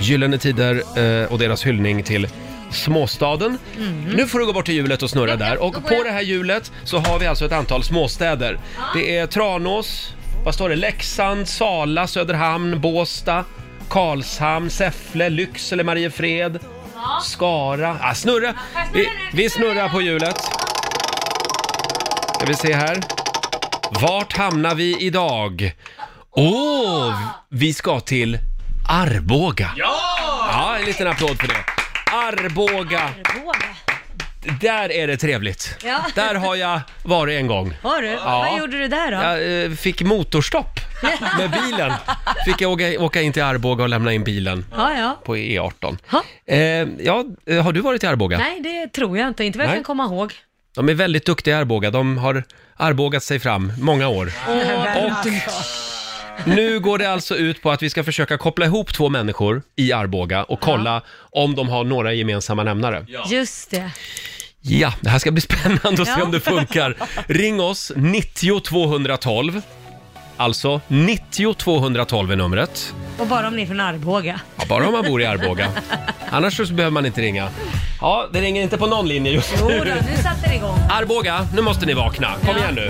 Speaker 1: Gyllene Tider eh, och deras hyllning till småstaden. Nu får du gå bort till hjulet och snurra där. Och på det här hjulet så har vi alltså ett antal småstäder. Det är Tranås, vad står det? Leksand, Sala, Söderhamn, Båsta, Karlshamn, Säffle, Lycksele, Mariefred, Skara. Ah, snurra! Vi, vi snurrar på hjulet. Ska vi se här. Vart hamnar vi idag? Åh, vi ska till Arboga. Ja! Ja, en liten applåd för det. Arboga,
Speaker 2: Arboga.
Speaker 1: där är det trevligt.
Speaker 2: Ja.
Speaker 1: Där har jag varit en gång.
Speaker 2: Har du?
Speaker 1: Ja.
Speaker 2: Vad gjorde du där då?
Speaker 1: Jag eh, fick motorstopp med bilen. Fick jag åka, åka in till Arboga och lämna in bilen
Speaker 2: Ja, ja.
Speaker 1: på E18.
Speaker 2: Ha.
Speaker 1: Eh, ja, eh, har du varit i Arboga?
Speaker 2: Nej, det tror jag inte. Inte vad jag
Speaker 1: Nej.
Speaker 2: kan komma ihåg.
Speaker 1: De är väldigt duktiga i Arboga. De har arbogat sig fram många år.
Speaker 2: alltså.
Speaker 1: Nu går det alltså ut på att vi ska försöka koppla ihop två människor i Arboga och kolla om de har några gemensamma nämnare.
Speaker 2: Just det.
Speaker 1: Ja, det här ska bli spännande att se
Speaker 2: Ja.
Speaker 1: om det funkar. Ring oss, 90 212. Alltså, 90 212 är numret.
Speaker 2: Och bara om ni är från Arboga.
Speaker 1: Ja, bara om man bor i Arboga. Annars så behöver man inte ringa. Ja, det ringer inte på någon linje just
Speaker 2: Jodå,
Speaker 1: nu.
Speaker 2: nu satte det igång.
Speaker 1: Arboga, nu måste ni vakna. Kom igen nu.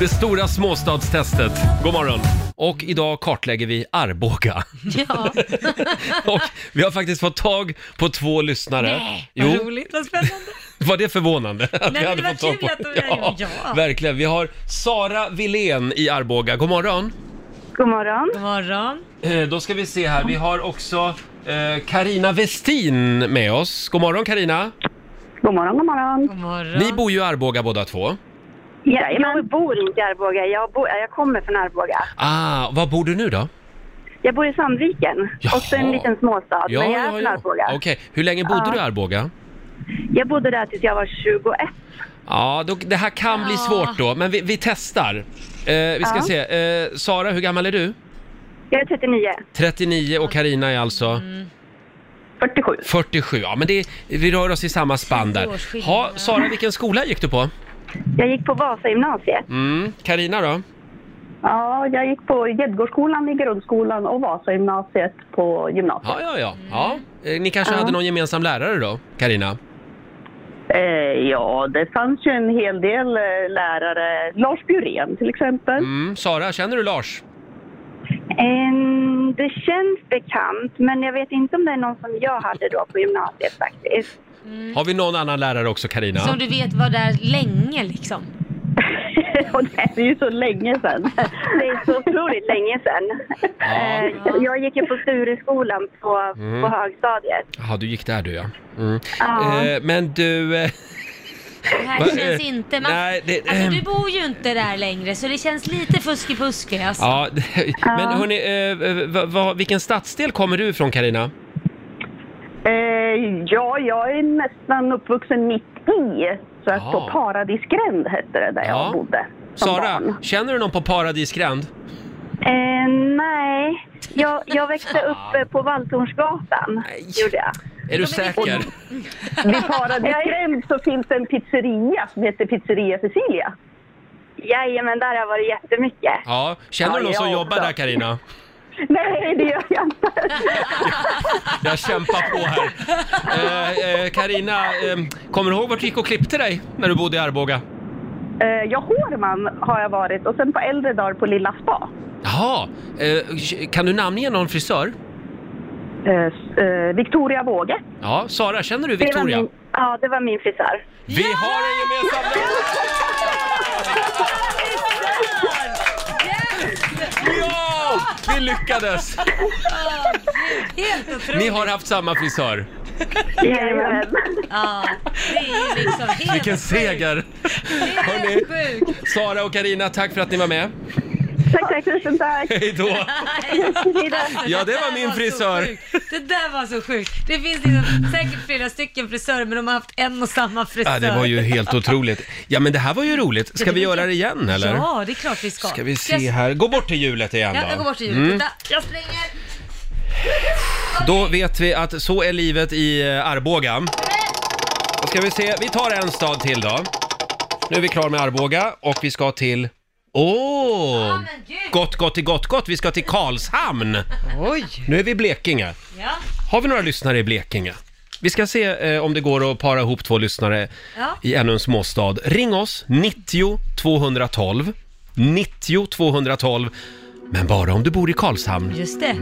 Speaker 1: Det stora småstadstestet. God morgon. Och idag kartlägger vi Arboga.
Speaker 2: Ja.
Speaker 1: Och vi har faktiskt fått tag på två lyssnare.
Speaker 2: Nej, vad
Speaker 1: jo,
Speaker 2: roligt, vad spännande.
Speaker 1: var det förvånande? Att
Speaker 2: men det var kul att de-
Speaker 1: ja,
Speaker 2: ja.
Speaker 1: verkligen. Vi har Sara Wilén i Arboga. God morgon.
Speaker 9: God morgon.
Speaker 2: God morgon.
Speaker 1: Eh, Då ska vi se här. Vi har också Karina Westin med oss. God morgon Karina.
Speaker 9: God morgon, god morgon.
Speaker 2: God morgon.
Speaker 1: Ni bor ju i Arboga båda två.
Speaker 9: Ja, jag bor inte i Arboga, jag, bor, jag kommer från Arboga.
Speaker 1: Ah, var bor du nu då?
Speaker 9: Jag bor i Sandviken,
Speaker 1: Jaha.
Speaker 9: också en liten småstad, men jag är från Arboga.
Speaker 1: Okej, hur länge bodde
Speaker 9: Ja.
Speaker 1: du i Arboga?
Speaker 9: Jag bodde där tills jag var 21.
Speaker 1: Ja, då, det här kan bli
Speaker 2: Ja.
Speaker 1: svårt då, men vi, vi testar. Eh, vi ska
Speaker 9: Ja.
Speaker 1: se. Eh, Sara, hur gammal är du?
Speaker 9: Jag är 39.
Speaker 1: 39 och Karina är alltså
Speaker 9: 47.
Speaker 1: 47. Ja, men det, vi rör oss i samma spann
Speaker 2: Tio
Speaker 1: där.
Speaker 2: års skillnad.
Speaker 1: Ha, Sara, vilken skola gick du på?
Speaker 9: Jag gick på Vasagymnasiet.
Speaker 1: Mm, Karina då?
Speaker 9: Ja, jag gick på Gäddgårdsskolan i grundskolan och Vasagymnasiet på gymnasiet.
Speaker 1: Ja, ja, ja. ja. Eh, ni kanske hade någon gemensam lärare då, Karina?
Speaker 9: Eh, ja, det fanns ju en hel del eh, lärare. Lars Bjurén till exempel.
Speaker 1: Mm, Sara, känner du Lars?
Speaker 9: det känns bekant, men jag vet inte om det är någon som jag hade då på gymnasiet faktiskt.
Speaker 1: Har vi någon annan lärare också, Karina?
Speaker 2: Som du vet var där länge liksom.
Speaker 9: Och det är ju så länge sedan. Det är så otroligt länge sedan.
Speaker 1: Ja. Mm.
Speaker 9: Eh, jag gick ju på Stureskolan på, på högstadiet.
Speaker 1: Jaha, du gick där du ja. Mm.
Speaker 9: Ja.
Speaker 1: Eh, men du... Eh,
Speaker 2: Det här
Speaker 1: Va-
Speaker 2: känns
Speaker 1: eh,
Speaker 2: inte... Man,
Speaker 1: nej, det-
Speaker 2: alltså, du bor ju inte där längre så det känns lite fuskipuske alltså.
Speaker 1: Ja, det- men hörni, eh, eh, va, va, vilken stadsdel kommer du ifrån Karina?
Speaker 9: Eh, ja, jag är nästan uppvuxen mitt i. Så att
Speaker 1: Ja.
Speaker 9: på Paradisgränd hette det där
Speaker 1: Ja.
Speaker 9: jag bodde. som
Speaker 1: Sara,
Speaker 9: barn.
Speaker 1: känner du någon på Paradisgränd?
Speaker 9: Eh, nej, jag, jag växte upp eh, på Valltornsgatan. Gjorde jag.
Speaker 1: Är du säker?
Speaker 9: Vid Paradisgränd så finns det en pizzeria som heter Pizzeria Cecilia. Jajamän, där har jag varit jättemycket.
Speaker 1: Ja, känner du
Speaker 9: Ja,
Speaker 1: någon som
Speaker 9: jag
Speaker 1: jobbar
Speaker 9: också.
Speaker 1: där Karina?
Speaker 9: Nej, det gör jag inte.
Speaker 1: Jag kämpar på här. Eh, eh, Karina, eh, kommer du ihåg vart du gick och klippte dig när du bodde i Arboga?
Speaker 9: Eh, ja, Hårman har jag varit och sen på äldre dagar på Lilla Spa.
Speaker 1: Jaha, eh, kan du namnge någon frisör?
Speaker 9: Eh, s- eh, Victoria Våge.
Speaker 1: Ja, Sara, känner du
Speaker 9: Det var
Speaker 1: Victoria?
Speaker 9: min, ja, det var min frisör.
Speaker 1: Vi har en gemensam Ja! Vi lyckades!
Speaker 2: Helt otroligt.
Speaker 1: Ni har haft samma frisör.
Speaker 9: Jajamän.
Speaker 2: Ja, det är ju liksom helt
Speaker 1: Vilken
Speaker 2: sjukt.
Speaker 1: seger! Hörni.
Speaker 2: Helt sjukt.
Speaker 1: Sara och Karina, tack för att ni var med.
Speaker 9: Tack, tack, tusen tack.
Speaker 1: Hej då! Ja, det var
Speaker 2: där
Speaker 1: min
Speaker 2: så
Speaker 1: frisör.
Speaker 2: sjukt. Det där var så sjukt. Det finns liksom säkert flera stycken frisörer men de har haft en och samma frisör.
Speaker 1: Ja, det var ju helt otroligt. Ja, men det här var ju roligt. Ska vi göra det igen eller?
Speaker 2: Ja, det är klart vi ska.
Speaker 1: Ska vi
Speaker 2: jag-
Speaker 1: se här. Gå bort till hjulet igen
Speaker 2: Ja, jag går
Speaker 1: då. Mm.
Speaker 2: bort till hjulet. Vänta, jag springer.
Speaker 1: Då vet vi att så är livet i eh, Arboga. Då ska vi se. Vi tar en stad till då. Nu är vi klar med Arboga och vi ska till... Åh!
Speaker 2: men gud.
Speaker 1: Gott, gott, till gott, gott. Vi ska till Karlshamn.
Speaker 3: Oj!
Speaker 1: Nu är vi i Blekinge.
Speaker 2: Ja.
Speaker 1: Har vi några lyssnare i Blekinge? Vi ska se eh, om det går att para ihop två lyssnare
Speaker 2: Ja.
Speaker 1: i ännu en småstad. Ring oss, 90 212. 90 212. Men bara om du bor i Karlshamn. Mm.
Speaker 2: Just det.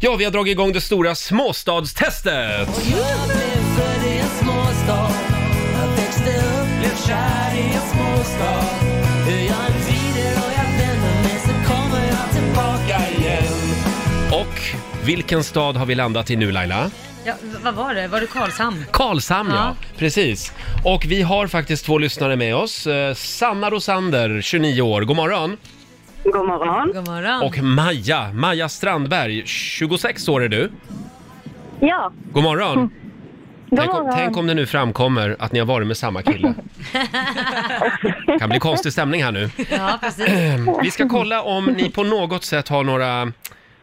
Speaker 1: Ja, vi har dragit igång det stora småstadstestet!
Speaker 10: småstad. Jag växte upp, blev kär i en småstad. Hur jag
Speaker 1: Vilken stad har vi landat i nu Laila?
Speaker 2: Ja, v- vad var det? Var det Karlshamn?
Speaker 1: Karlshamn ja.
Speaker 2: Ja.
Speaker 1: precis. Och vi har faktiskt två lyssnare med oss. Eh, Sanna Rosander, 29 år, god morgon.
Speaker 9: God morgon.
Speaker 2: God morgon.
Speaker 1: Och Maja, Maja Strandberg, 26 år är du.
Speaker 9: Ja,
Speaker 1: God morgon.
Speaker 9: Mm. god
Speaker 1: Tänk, om,
Speaker 9: morgon.
Speaker 1: tänk om det nu framkommer att ni har varit med samma kille. kan bli konstig stämning här nu.
Speaker 2: Ja, precis.
Speaker 1: Ehm, Vi ska kolla om ni på något sätt har några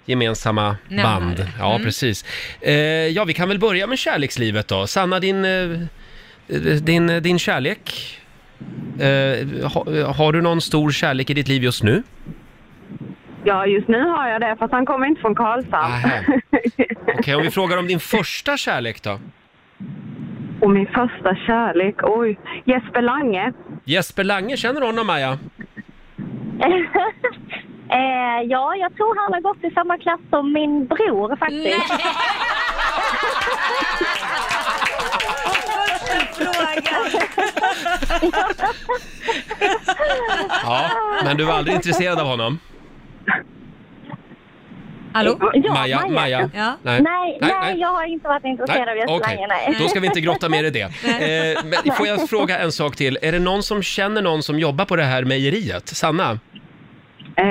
Speaker 1: gemensamma
Speaker 2: Nämnare.
Speaker 1: band. Ja,
Speaker 2: Mm.
Speaker 1: precis. Eh, ja, vi kan väl börja med kärlekslivet då. Sanna, din, eh, din, din kärlek. Eh, ha, har du någon stor kärlek i ditt liv just nu?
Speaker 9: Ja, just nu har jag det, fast han kommer inte från Karlshamn.
Speaker 1: Nähä. Okej, om vi frågar om din första kärlek då?
Speaker 9: Och min första kärlek, oj. Jesper Lange.
Speaker 1: Jesper Lange, känner du honom Maja?
Speaker 11: Eh, ja, jag tror han har gått i samma klass som min bror faktiskt.
Speaker 1: Ja, men du var aldrig intresserad av honom?
Speaker 2: Hallå?
Speaker 11: Ja,
Speaker 1: Maja, Maja.
Speaker 11: Ja. Nej.
Speaker 1: Nej. Nej,
Speaker 11: Nej,
Speaker 1: nej.
Speaker 11: jag har inte varit intresserad av Jesper
Speaker 1: okej.
Speaker 11: Lange. Nej.
Speaker 1: Då ska vi inte grotta mer i det. Eh, men får jag fråga en sak till? Är det någon som känner någon som jobbar på det här mejeriet? Sanna?
Speaker 9: Eh,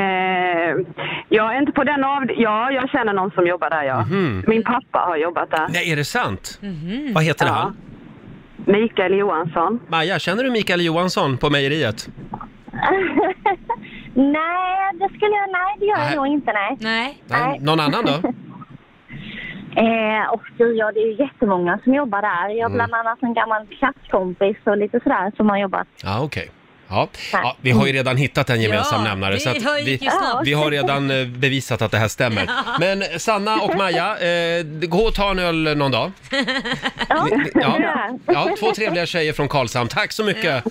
Speaker 9: jag är inte på den av... Ja, jag känner någon som jobbar där, ja.
Speaker 1: Mhm.
Speaker 9: Min pappa har jobbat där.
Speaker 1: Nej, är det sant?
Speaker 11: Mhm.
Speaker 1: Vad heter
Speaker 9: Ja.
Speaker 1: han?
Speaker 9: Mikael Johansson.
Speaker 1: Maja, känner du Mikael Johansson på mejeriet?
Speaker 11: nej, det skulle jag, nej, det gör jag nog inte. Nej.
Speaker 2: Nej.
Speaker 1: Nej. Någon annan då?
Speaker 11: Eh, och gud, ja, det är ju jättemånga som jobbar där.
Speaker 1: Mm.
Speaker 11: Jag har bland annat en gammal klasskompis och lite sådär som har jobbat.
Speaker 1: Ja, okej. Ja. ja, vi har ju redan hittat en gemensam
Speaker 11: Ja,
Speaker 1: nämnare
Speaker 11: det
Speaker 1: så att
Speaker 11: har- gick
Speaker 1: vi,
Speaker 11: ju snabbt.
Speaker 1: vi har redan eh, bevisat att det här stämmer. Men Sanna och Maja, eh, gå och ta en öl någon dag.
Speaker 11: Ja,
Speaker 1: Ja, ja två trevliga tjejer från Karlshamn. Tack så mycket!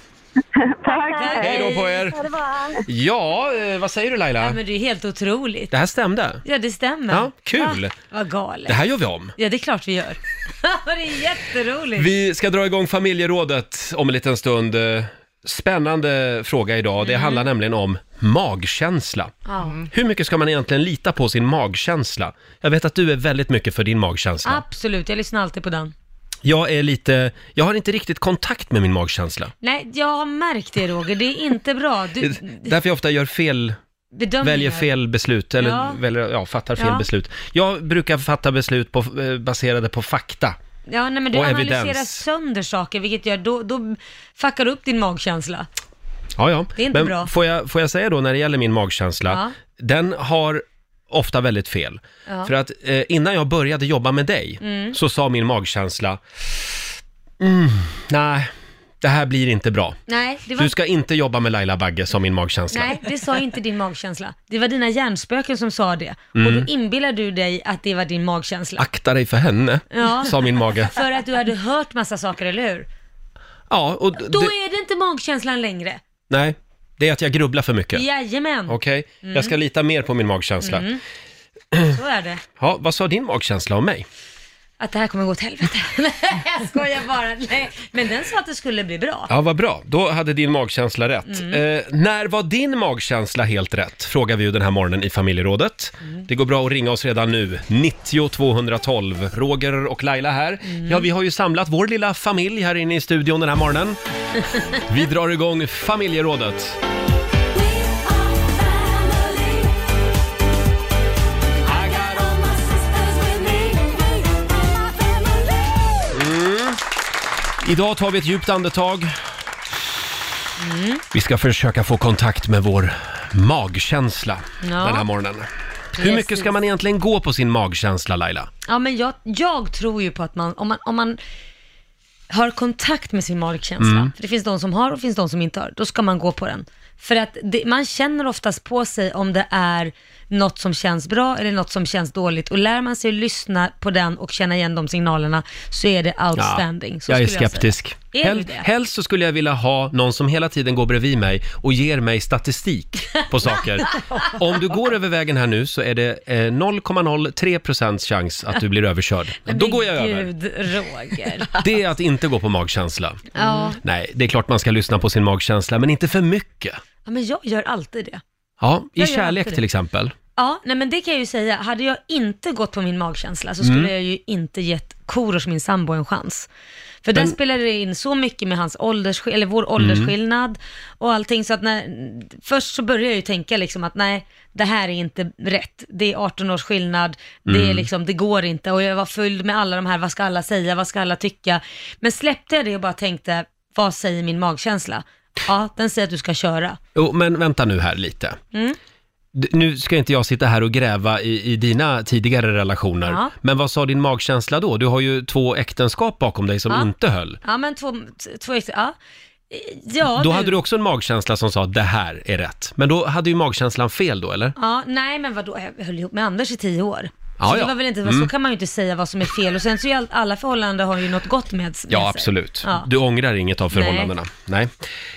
Speaker 9: Tack!
Speaker 1: Hej då på er!
Speaker 11: Ja, det var...
Speaker 1: Ja, eh, vad säger du
Speaker 2: Ja,
Speaker 1: Laila?
Speaker 2: men det är helt otroligt.
Speaker 1: Det här stämde.
Speaker 2: Ja, det stämmer.
Speaker 1: Ja, kul.
Speaker 2: Va? Vad galet.
Speaker 1: Det här gör vi om.
Speaker 2: Ja, det är klart vi gör. det är jätteroligt.
Speaker 1: Vi ska dra igång familjerådet om en liten stund. Eh, Spännande fråga idag. Det
Speaker 2: Mm.
Speaker 1: handlar nämligen om magkänsla.
Speaker 2: Ja.
Speaker 1: Hur mycket ska man egentligen lita på sin magkänsla? Jag vet att du är väldigt mycket för din magkänsla.
Speaker 2: Absolut, jag lyssnar alltid på den.
Speaker 1: Jag är lite, jag har inte riktigt kontakt med min magkänsla.
Speaker 2: Nej, jag har märkt det Roger, det är inte bra. Du,
Speaker 1: Det- Därför jag ofta gör fel,
Speaker 2: Bedömningar.
Speaker 1: väljer fel beslut, eller
Speaker 2: Ja.
Speaker 1: väljer, ja, fattar fel
Speaker 2: Ja.
Speaker 1: beslut. Jag brukar fatta beslut på, eh, baserade på fakta.
Speaker 2: ja, nej, men du
Speaker 1: och
Speaker 2: analyserar
Speaker 1: evidens.
Speaker 2: sönder saker, vilket gör, då, då fuckar du upp din magkänsla.
Speaker 1: Ja, ja.
Speaker 2: Det är inte
Speaker 1: Men
Speaker 2: bra.
Speaker 1: Får, jag, får jag säga då när det gäller min magkänsla,
Speaker 2: Ja.
Speaker 1: den har ofta väldigt fel.
Speaker 2: Ja.
Speaker 1: För att eh, innan jag började jobba med dig
Speaker 2: Mm.
Speaker 1: så sa min magkänsla, mm, nej, det här blir inte bra.
Speaker 2: Nej, det var...
Speaker 1: Du ska inte jobba med Laila Bagge, sa min magkänsla.
Speaker 2: Nej, det sa inte din magkänsla. Det var dina hjärnspöken som sa det. Och
Speaker 1: Mm.
Speaker 2: då inbillar du dig att det var din magkänsla.
Speaker 1: Akta dig för henne,
Speaker 2: Ja.
Speaker 1: sa min mage.
Speaker 2: För att du hade hört massa saker, eller hur?
Speaker 1: Ja, och d-
Speaker 2: Då
Speaker 1: det-
Speaker 2: är det inte magkänslan längre.
Speaker 1: Nej, det är att jag grubblar för mycket.
Speaker 2: Jajamän.
Speaker 1: Okej,
Speaker 2: Mm.
Speaker 1: jag ska lita mer på min magkänsla.
Speaker 2: Mm. Så är det.
Speaker 1: Ja, vad sa din magkänsla om mig?
Speaker 2: Att det här kommer gå åt helvete. jag skojar bara. Nej. Men den sa att det skulle bli bra.
Speaker 1: Ja, vad bra. Då hade din magkänsla rätt.
Speaker 2: Mm.
Speaker 1: Eh, när var din magkänsla helt rätt? Frågar vi ju den här morgonen i familjerådet.
Speaker 2: Mm.
Speaker 1: Det går bra att ringa oss redan nu. 90 212. Roger och Laila här.
Speaker 2: Mm.
Speaker 1: Ja, vi har ju samlat vår lilla familj här inne i studion den här morgonen. Vi drar igång familjerådet. Mm. Idag tar vi ett djupt andetag.
Speaker 2: Mm.
Speaker 1: Vi ska försöka få kontakt med vår magkänsla
Speaker 2: Ja.
Speaker 1: den här morgonen. Hur
Speaker 2: Precis.
Speaker 1: mycket ska man egentligen gå på sin magkänsla, Laila?
Speaker 2: Ja, men jag, jag tror ju på att man, om man, om man har kontakt med sin magkänsla,
Speaker 1: Mm.
Speaker 2: för det finns de som har och det finns de som inte har, då ska man gå på den. För att det, man känner oftast på sig om det är något som känns bra eller något som känns dåligt och lär man sig att lyssna på den och känna igen de signalerna så är det outstanding. så
Speaker 1: jag är
Speaker 2: skulle
Speaker 1: skeptisk.
Speaker 2: Jag säga. är du
Speaker 1: Hel-
Speaker 2: det?
Speaker 1: helst så skulle jag vilja ha någon som hela tiden går bredvid mig och ger mig statistik på saker. Om du går över vägen här nu så är det eh, 0,03% chans att du blir överkörd. Då går jag över.
Speaker 2: Gud, Roger.
Speaker 1: Det är att inte gå på magkänsla.
Speaker 2: Ja.
Speaker 1: Nej, det är klart man ska lyssna på sin magkänsla, men inte för mycket.
Speaker 2: ja, men jag gör alltid det.
Speaker 1: Ja, i
Speaker 2: Jag gör alltid
Speaker 1: kärlek
Speaker 2: det.
Speaker 1: till exempel.
Speaker 2: Ja, nej men det kan jag ju säga. Hade jag inte gått på min magkänsla så skulle
Speaker 1: Mm.
Speaker 2: jag ju inte gett Korosh, min sambo, en chans. För där
Speaker 1: Men- Mm.
Speaker 2: spelade det in så mycket med hans ålders, eller vår åldersskillnad och allting. Så att när, först så började jag ju tänka liksom att nej, det här är inte rätt. Det är 18 års skillnad, det, är
Speaker 12: Mm.
Speaker 2: liksom, det går inte. Och jag var fylld med alla de här, vad ska alla säga, vad ska alla tycka? Men släppte jag det och bara tänkte, vad säger min magkänsla? Ja, den säger att du ska köra.
Speaker 1: Jo, men vänta nu här lite.
Speaker 2: Mm.
Speaker 1: D- Nu ska inte jag sitta här och gräva i, i dina tidigare relationer.
Speaker 2: Ja.
Speaker 1: Men vad sa din magkänsla då? Du har ju två äktenskap bakom dig som
Speaker 2: Ja.
Speaker 1: inte höll.
Speaker 2: Ja, men två, t- två extra, ja. Ja,
Speaker 1: då
Speaker 2: du-
Speaker 1: hade du också en magkänsla som sa det här är rätt. Men då hade ju magkänslan fel då, eller?
Speaker 2: Ja, nej men vadå, jag höll ihop med Anders i tio år.
Speaker 1: Ja,
Speaker 2: så det
Speaker 1: ja.
Speaker 2: var väl inte,
Speaker 1: Mm.
Speaker 2: så kan man ju inte säga vad som är fel. Och sen så är ju all- alla förhållanden har ju något gott med, med sig.
Speaker 1: Ja, absolut.
Speaker 2: Ja.
Speaker 1: Du ångrar inget av
Speaker 2: Nej.
Speaker 1: förhållandena. Nej,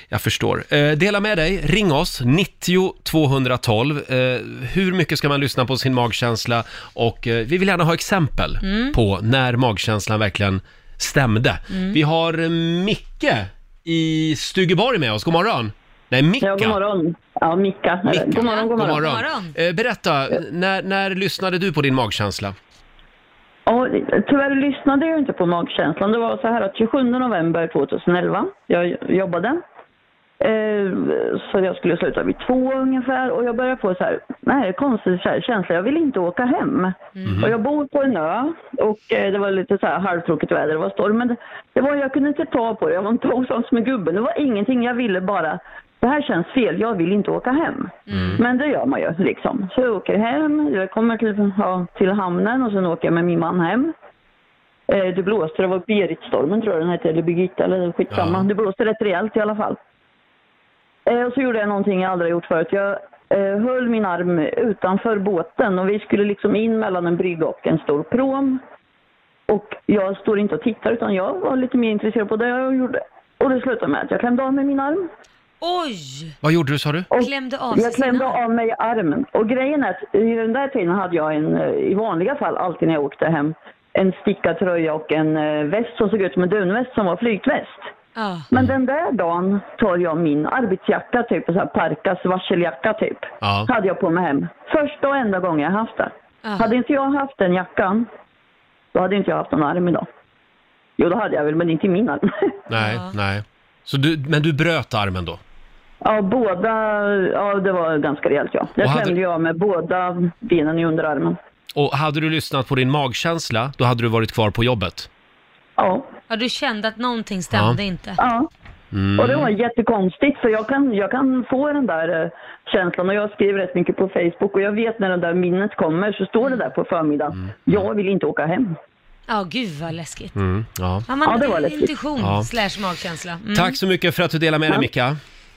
Speaker 1: jag förstår. Eh, dela med dig, ring oss, 90 212. Eh, hur mycket ska man lyssna på sin magkänsla? Och eh, vi vill gärna ha exempel
Speaker 13: Mm.
Speaker 1: på när magkänslan verkligen stämde.
Speaker 13: Mm.
Speaker 1: Vi har eh, Micke i Stugeborg med oss. God morgon! Nej, Micka.
Speaker 13: Ja, god morgon. Ja, Micka.
Speaker 1: Micka.
Speaker 13: God morgon, god morgon.
Speaker 1: God morgon. Eh, berätta, när, när lyssnade du på din magkänsla?
Speaker 13: Ja, tyvärr lyssnade jag inte på magkänslan. Det var så här att 27 november 2011, jag jobbade. Eh, Så jag skulle sluta vid två ungefär och jag började få så här, nej, konstig så här känsla. Jag vill inte åka hem. Och jag bor på en ö och eh, det var lite så här halvtråkigt väder, det var storm. Men det- det var, jag kunde inte ta på det, jag var inte osams med gubben. Det var ingenting, jag ville bara, det här känns fel, jag vill inte åka hem. Men det gör man ju liksom. Så jag åker hem, jag kommer till, ja, till hamnen och sen åker jag med min man hem. Eh, det blåste, det var Beritstormen tror jag den hette, eller Birgitta eller skitsamma. Det blåste rätt rejält i alla fall. Eh, och så gjorde jag någonting jag aldrig gjort förut. Jag eh, höll min arm utanför båten och vi skulle liksom in mellan en brygga och en stor pråm. Och jag står inte och tittar utan jag var lite mer intresserad på det jag gjorde. Och det slutade med att jag klämde av mig min arm.
Speaker 2: Oj!
Speaker 1: Vad gjorde du, sa du?
Speaker 13: Och
Speaker 2: Klämde av sig
Speaker 13: jag klämde av mig armen. Och grejen är att i den där tiden hade jag en, eh, i vanliga fall alltid när jag åkte hem, en stickad tröja och en eh, väst som såg ut som en dunväst som var flytväst.
Speaker 2: Ja.
Speaker 13: Men den där dagen tar jag min arbetsjacka typ, så här parkas varseljacka typ.
Speaker 1: Ja.
Speaker 13: Hade jag på mig hem. Första och enda gången jag haft den. Hade inte jag haft den jackan, då hade inte jag haft någon arm idag. Jo, det hade jag väl, men inte min arm.
Speaker 1: Nej, nej. Så du, men du bröt armen då?
Speaker 13: Ja, båda, ja det var ganska rejält ja. Jag
Speaker 1: Och hade-
Speaker 13: klämde ju av med båda benen i underarmen.
Speaker 1: Och hade du lyssnat på din magkänsla, då hade du varit kvar på jobbet?
Speaker 13: Ja.
Speaker 2: Ja, du kände att någonting stämde inte.
Speaker 13: Ja.
Speaker 1: Mm.
Speaker 13: Och det var jättekonstigt för jag kan, jag kan få den där eh, känslan och jag skriver rätt mycket på Facebook och jag vet när det där minnet kommer så står det där på förmiddagen. Jag vill inte åka hem.
Speaker 2: Ja, gud vad läskigt.
Speaker 1: Mm, ja.
Speaker 2: Ja, man,
Speaker 13: Ja, det var läskigt.
Speaker 2: intuition
Speaker 1: Ja.
Speaker 2: slash magkänsla. Mm.
Speaker 1: Tack så mycket för att du delade med dig, Micka.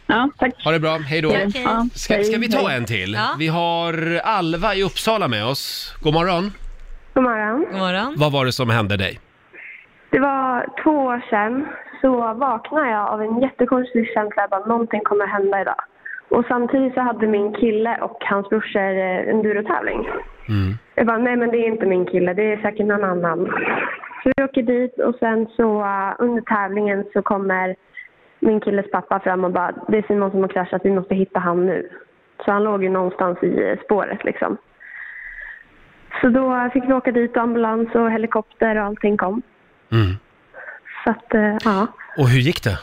Speaker 13: Ja, tack.
Speaker 1: Ha det bra, hej då.
Speaker 2: Ja, okej. Ja,
Speaker 1: Ska, ska vi ta
Speaker 2: hej.
Speaker 1: en till?
Speaker 2: Ja.
Speaker 1: Vi har Alva i Uppsala med oss. God morgon.
Speaker 14: God morgon.
Speaker 2: God morgon.
Speaker 1: Vad var det som hände dig?
Speaker 14: Det var två år sedan så vaknade jag av en jättekonstig känsla att någonting kommer hända idag. Och samtidigt så hade min kille och hans brorsor eh, endurotävling. Jag bara, nej men det är inte min kille, det är säkert någon annan. Så vi åker dit och sen så eh, under tävlingen så kommer min killes pappa fram och bara, det är Simon som har kraschat, vi måste hitta han nu. Så han låg ju någonstans i eh, spåret liksom. Så då fick vi åka dit och ambulans och helikopter och allting kom.
Speaker 1: Mm.
Speaker 14: Så att, eh, ja.
Speaker 1: Och hur gick det?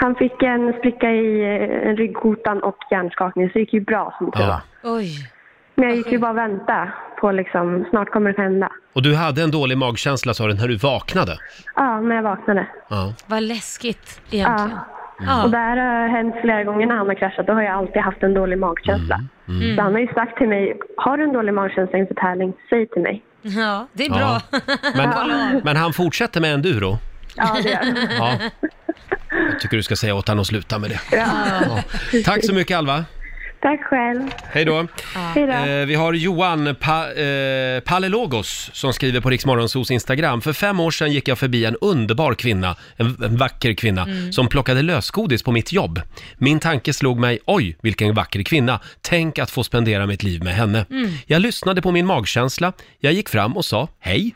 Speaker 14: Han fick en spricka i eh, ryggkotan och hjärnskakning, så det gick ju bra som tur var.
Speaker 2: Oj.
Speaker 14: Men jag gick ju bara och väntade på liksom, snart kommer det hända.
Speaker 1: Och du hade en dålig magkänsla sa du när du vaknade?
Speaker 14: Ja, när jag vaknade.
Speaker 1: Ja.
Speaker 2: Vad läskigt egentligen.
Speaker 14: Ja. Och det här har hänt flera gånger när han har kraschat. Då har jag alltid haft en dålig magkänsla.
Speaker 1: Mm,
Speaker 2: Mm.
Speaker 14: Så han har ju sagt till mig, har du en dålig magkänsla inför tävling, säg till mig.
Speaker 2: Ja, det är
Speaker 1: Ja.
Speaker 2: bra.
Speaker 1: Men,
Speaker 2: Kolla av.
Speaker 1: men han fortsätter med enduro?
Speaker 14: Ja, det gör
Speaker 1: Ja. Jag tycker du ska säga åt honom att sluta med det.
Speaker 14: Ja.
Speaker 1: Tack så mycket Alva.
Speaker 14: Tack själv.
Speaker 1: Hej då.
Speaker 14: Hej då.
Speaker 1: Eh, vi har Johan pa- eh, Palelogos som skriver på Riksmorgonsos Instagram. För fem år sedan gick jag förbi en underbar kvinna, en, en vacker kvinna,
Speaker 6: Mm.
Speaker 1: som plockade lösgodis på mitt jobb. Min tanke slog mig, oj vilken vacker kvinna, tänk att få spendera mitt liv med henne.
Speaker 6: Mm.
Speaker 1: Jag lyssnade på min magkänsla, jag gick fram och sa hej.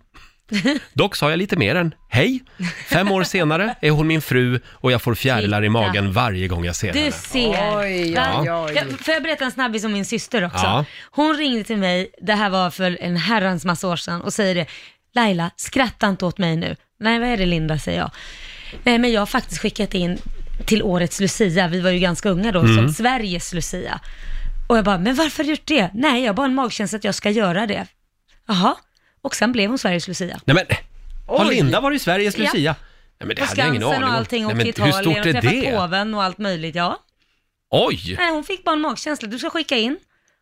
Speaker 1: Dock sa jag lite mer än hej. Fem år senare är hon min fru och jag får fjärilar i
Speaker 2: Titta.
Speaker 1: magen varje gång jag ser
Speaker 2: Du
Speaker 1: henne.
Speaker 2: ser.
Speaker 1: oj,
Speaker 2: Där-
Speaker 1: oj.
Speaker 2: Jag, får jag berätta en snabbis om min syster också?
Speaker 1: Ja.
Speaker 2: Hon ringde till mig, det här var för en herrans massa år sedan, och säger det. Laila, skratta inte åt mig nu. Nej, vad är det Linda, säger jag. Nej, men jag har faktiskt skickat in till årets Lucia, vi var ju ganska unga då,
Speaker 12: Mm.
Speaker 2: som Sveriges Lucia. Och jag bara, men varför har du gjort det? Nej, jag har bara en magkänsla att jag ska göra det. Jaha, och sen blev hon Sveriges Lucia.
Speaker 1: Nej men, har
Speaker 2: Oj.
Speaker 1: Linda varit i Sveriges
Speaker 2: Ja.
Speaker 1: Lucia? Nej men det
Speaker 2: på
Speaker 1: hade jag ingen
Speaker 2: Skansen
Speaker 1: aning om.
Speaker 2: och allting,
Speaker 1: Nej,
Speaker 2: och
Speaker 1: men
Speaker 2: till Italien
Speaker 1: Hur stort är
Speaker 2: och träffat
Speaker 1: det?
Speaker 2: påven och allt möjligt, ja.
Speaker 1: Oj!
Speaker 2: Nej, hon fick bara en magkänsla. Du ska skicka in.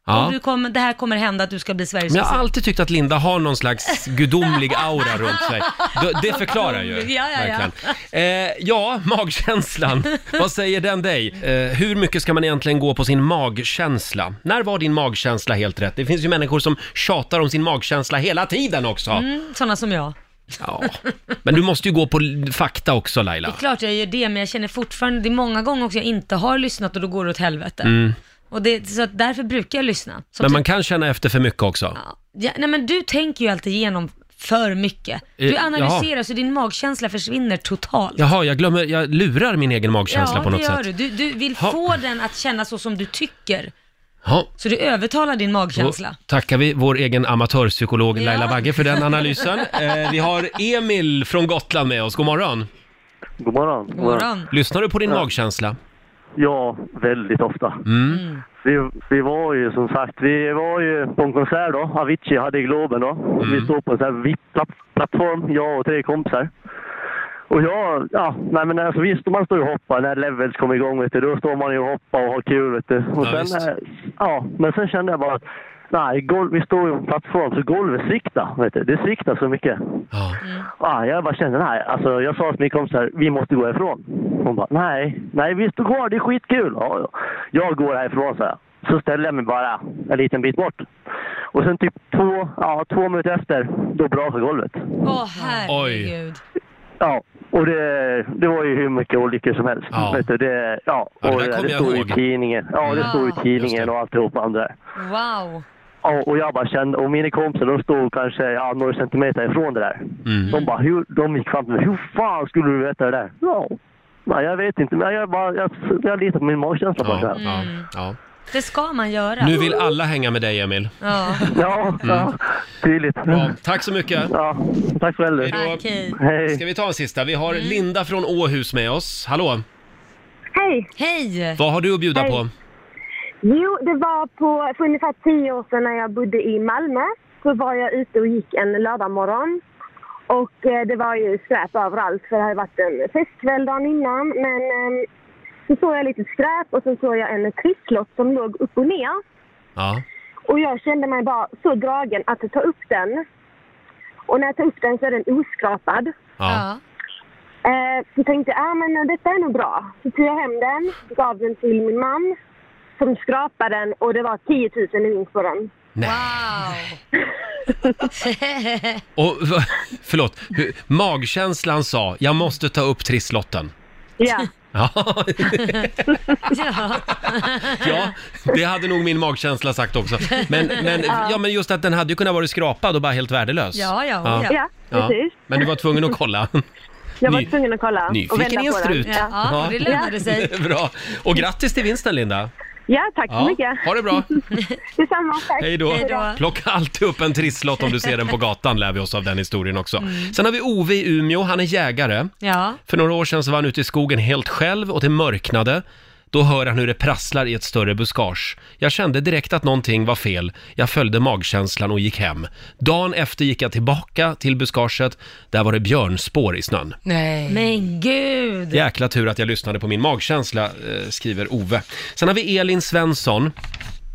Speaker 1: Ja.
Speaker 2: Och du kommer, det här kommer hända att du ska bli Sveriges
Speaker 1: Men jag har
Speaker 2: president.
Speaker 1: alltid tyckt att Linda har någon slags gudomlig aura runt sig. Det- Det förklarar ju.
Speaker 2: Ja, ja, ja.
Speaker 1: verkligen. Eh, ja magkänslan. Vad säger den dig? Eh, hur mycket ska man egentligen gå på sin magkänsla? När var din magkänsla helt rätt? Det finns ju människor som tjatar om sin magkänsla hela tiden också.
Speaker 2: Mm, sådana som jag.
Speaker 1: Ja. Men du måste ju gå på l- fakta också Laila.
Speaker 2: Det är klart jag gör det, men jag känner fortfarande, det är många gånger också jag inte har lyssnat och då går det åt helvete.
Speaker 1: Mm.
Speaker 2: Och det, så att därför brukar jag lyssna. Som
Speaker 1: Men
Speaker 2: typ-
Speaker 1: man kan känna efter för mycket också.
Speaker 2: ja, nej men du tänker ju alltid igenom för mycket.
Speaker 1: Eh,
Speaker 2: Du
Speaker 1: jaha.
Speaker 2: analyserar så din magkänsla försvinner totalt.
Speaker 1: Jaha, jag glömmer, jag lurar min egen magkänsla
Speaker 2: ja,
Speaker 1: på något
Speaker 2: det gör
Speaker 1: sätt.
Speaker 2: du. du. Du vill
Speaker 1: Ha.
Speaker 2: få den att känna så som du tycker.
Speaker 1: Ja.
Speaker 2: Så du övertalar din magkänsla.
Speaker 1: Då tackar vi vår egen amatörpsykolog Laila Bagge för den analysen. Eh, vi har Emil från Gotland med oss. God morgon.
Speaker 15: God morgon. God
Speaker 2: morgon.
Speaker 1: Lyssnar du på din
Speaker 15: Ja.
Speaker 1: magkänsla?
Speaker 15: Ja, väldigt ofta.
Speaker 16: Mm.
Speaker 15: Vi, vi var ju som sagt, vi var ju på en konsert då. Avicii hade i Globen då.
Speaker 16: Mm.
Speaker 15: Vi stod på en sån här VIP-plattform, jag och tre kompisar. Och jag, ja, nej men alltså visst, man står ju och hoppar när Levels kommer igång vet du. Då står man ju och hoppar och har kul vet du. Och
Speaker 16: Ja,
Speaker 15: sen,
Speaker 16: visst.
Speaker 15: eh, ja, men sen kände jag bara att nej, golv, vi står ju på en plattform så golvet sviktar vet du. Det sviktar så mycket. Ja, jag bara kände, nej, alltså jag sa till min kompis här, vi måste gå härifrån. Hon bara, nej, nej vi står kvar, det är skitkul. Ja, ja. Jag går härifrån, så jag. Så ställer jag mig bara en liten bit bort. Och sen typ två, ja, två minuter efter, då brakar golvet.
Speaker 2: Åh herregud.
Speaker 15: Ja, och det, det var ju hur mycket olyckor som helst.
Speaker 1: Ja.
Speaker 15: Vet du, det, ja,
Speaker 1: Ja, det
Speaker 15: och
Speaker 1: där
Speaker 15: det,
Speaker 1: kommer
Speaker 15: det
Speaker 1: jag
Speaker 15: stod ju
Speaker 1: ihåg.
Speaker 15: i tidningen. Ja, det
Speaker 2: Ja.
Speaker 15: stod i tidningen och alltihopa andra.
Speaker 2: Wow.
Speaker 15: Ja, och jag bara kände, och mina kompisar de stod kanske ja, några centimeter ifrån det där. De bara, hur, de gick fram till mig, hur fan skulle du veta det där? Ja, nej, jag vet inte, men jag, bara, jag, jag litar på min magkänsla bara.
Speaker 1: Ja,
Speaker 15: så
Speaker 1: ja,
Speaker 15: här.
Speaker 1: ja.
Speaker 2: Det ska man göra.
Speaker 1: Nu vill alla hänga med dig Emil. Mm.
Speaker 2: Ja.
Speaker 15: Ja, ja, tydligt.
Speaker 1: Bra. Tack så mycket.
Speaker 15: Ja, tack själv.
Speaker 1: Tack,
Speaker 15: Hej.
Speaker 1: Ska vi ta en sista? Vi har
Speaker 2: Mm.
Speaker 1: Linda från Åhus med oss. Hallå!
Speaker 17: Hej!
Speaker 2: Hej!
Speaker 1: Vad har du att bjuda
Speaker 17: Hej.
Speaker 1: på?
Speaker 17: Jo, det var på, för ungefär tio år sedan när jag bodde i Malmö. Så var jag ute och gick en lördagmorgon. Och eh, det var ju skräp överallt för det hade varit en festkväll dagen innan. Men eh, så såg jag lite skräp och så såg jag en trisslott som låg upp och ner.
Speaker 1: Ja.
Speaker 17: Och jag kände mig bara så dragen att ta upp den. Och när jag tar upp den så är den oskrapad.
Speaker 1: Ja.
Speaker 17: Eh, så tänkte jag, ah, men detta är nog bra. Så tog jag hem den, gav den till min man som skrapade den och det var 10 000 i vinst på den. Wow!
Speaker 1: Och, va- förlåt, Hur- magkänslan sa jag måste ta upp trisslotten.
Speaker 17: ja.
Speaker 1: Ja,
Speaker 2: ja.
Speaker 1: Ja, det hade nog min magkänsla sagt också. Men, men,
Speaker 2: Ja.
Speaker 1: ja, men just att den hade ju kunnat vara skrapad och bara helt värdelös.
Speaker 17: Ja, ja, ja. Ja, precis.
Speaker 1: Men du var tvungen att kolla.
Speaker 17: Jag var
Speaker 1: Ny-
Speaker 17: tvungen att kolla och
Speaker 1: Nyfiken
Speaker 17: vända
Speaker 1: i en
Speaker 17: på den.
Speaker 1: strut. Det är Bra. Och grattis till vinsten, Linda.
Speaker 17: Ja, tack så
Speaker 1: Ja,
Speaker 17: mycket.
Speaker 1: ha det bra.
Speaker 17: Detsamma, tack.
Speaker 1: Hej då. Plocka alltid upp en trisslott om du ser den på gatan, lär vi oss av den historien också.
Speaker 2: Mm.
Speaker 1: Sen har vi Ove i Umeå, han är jägare.
Speaker 2: Ja.
Speaker 1: För några år sedan så var han ute i skogen helt själv och det mörknade. Då hör han hur det prasslar i ett större buskage. Jag kände direkt att någonting var fel. Jag följde magkänslan och gick hem. Dagen efter gick jag tillbaka till buskaget. Där var det björnspår i snön.
Speaker 2: Nej. Men gud.
Speaker 1: Jäkla tur att jag lyssnade på min magkänsla, eh, skriver Ove. Sen har vi Elin Svensson.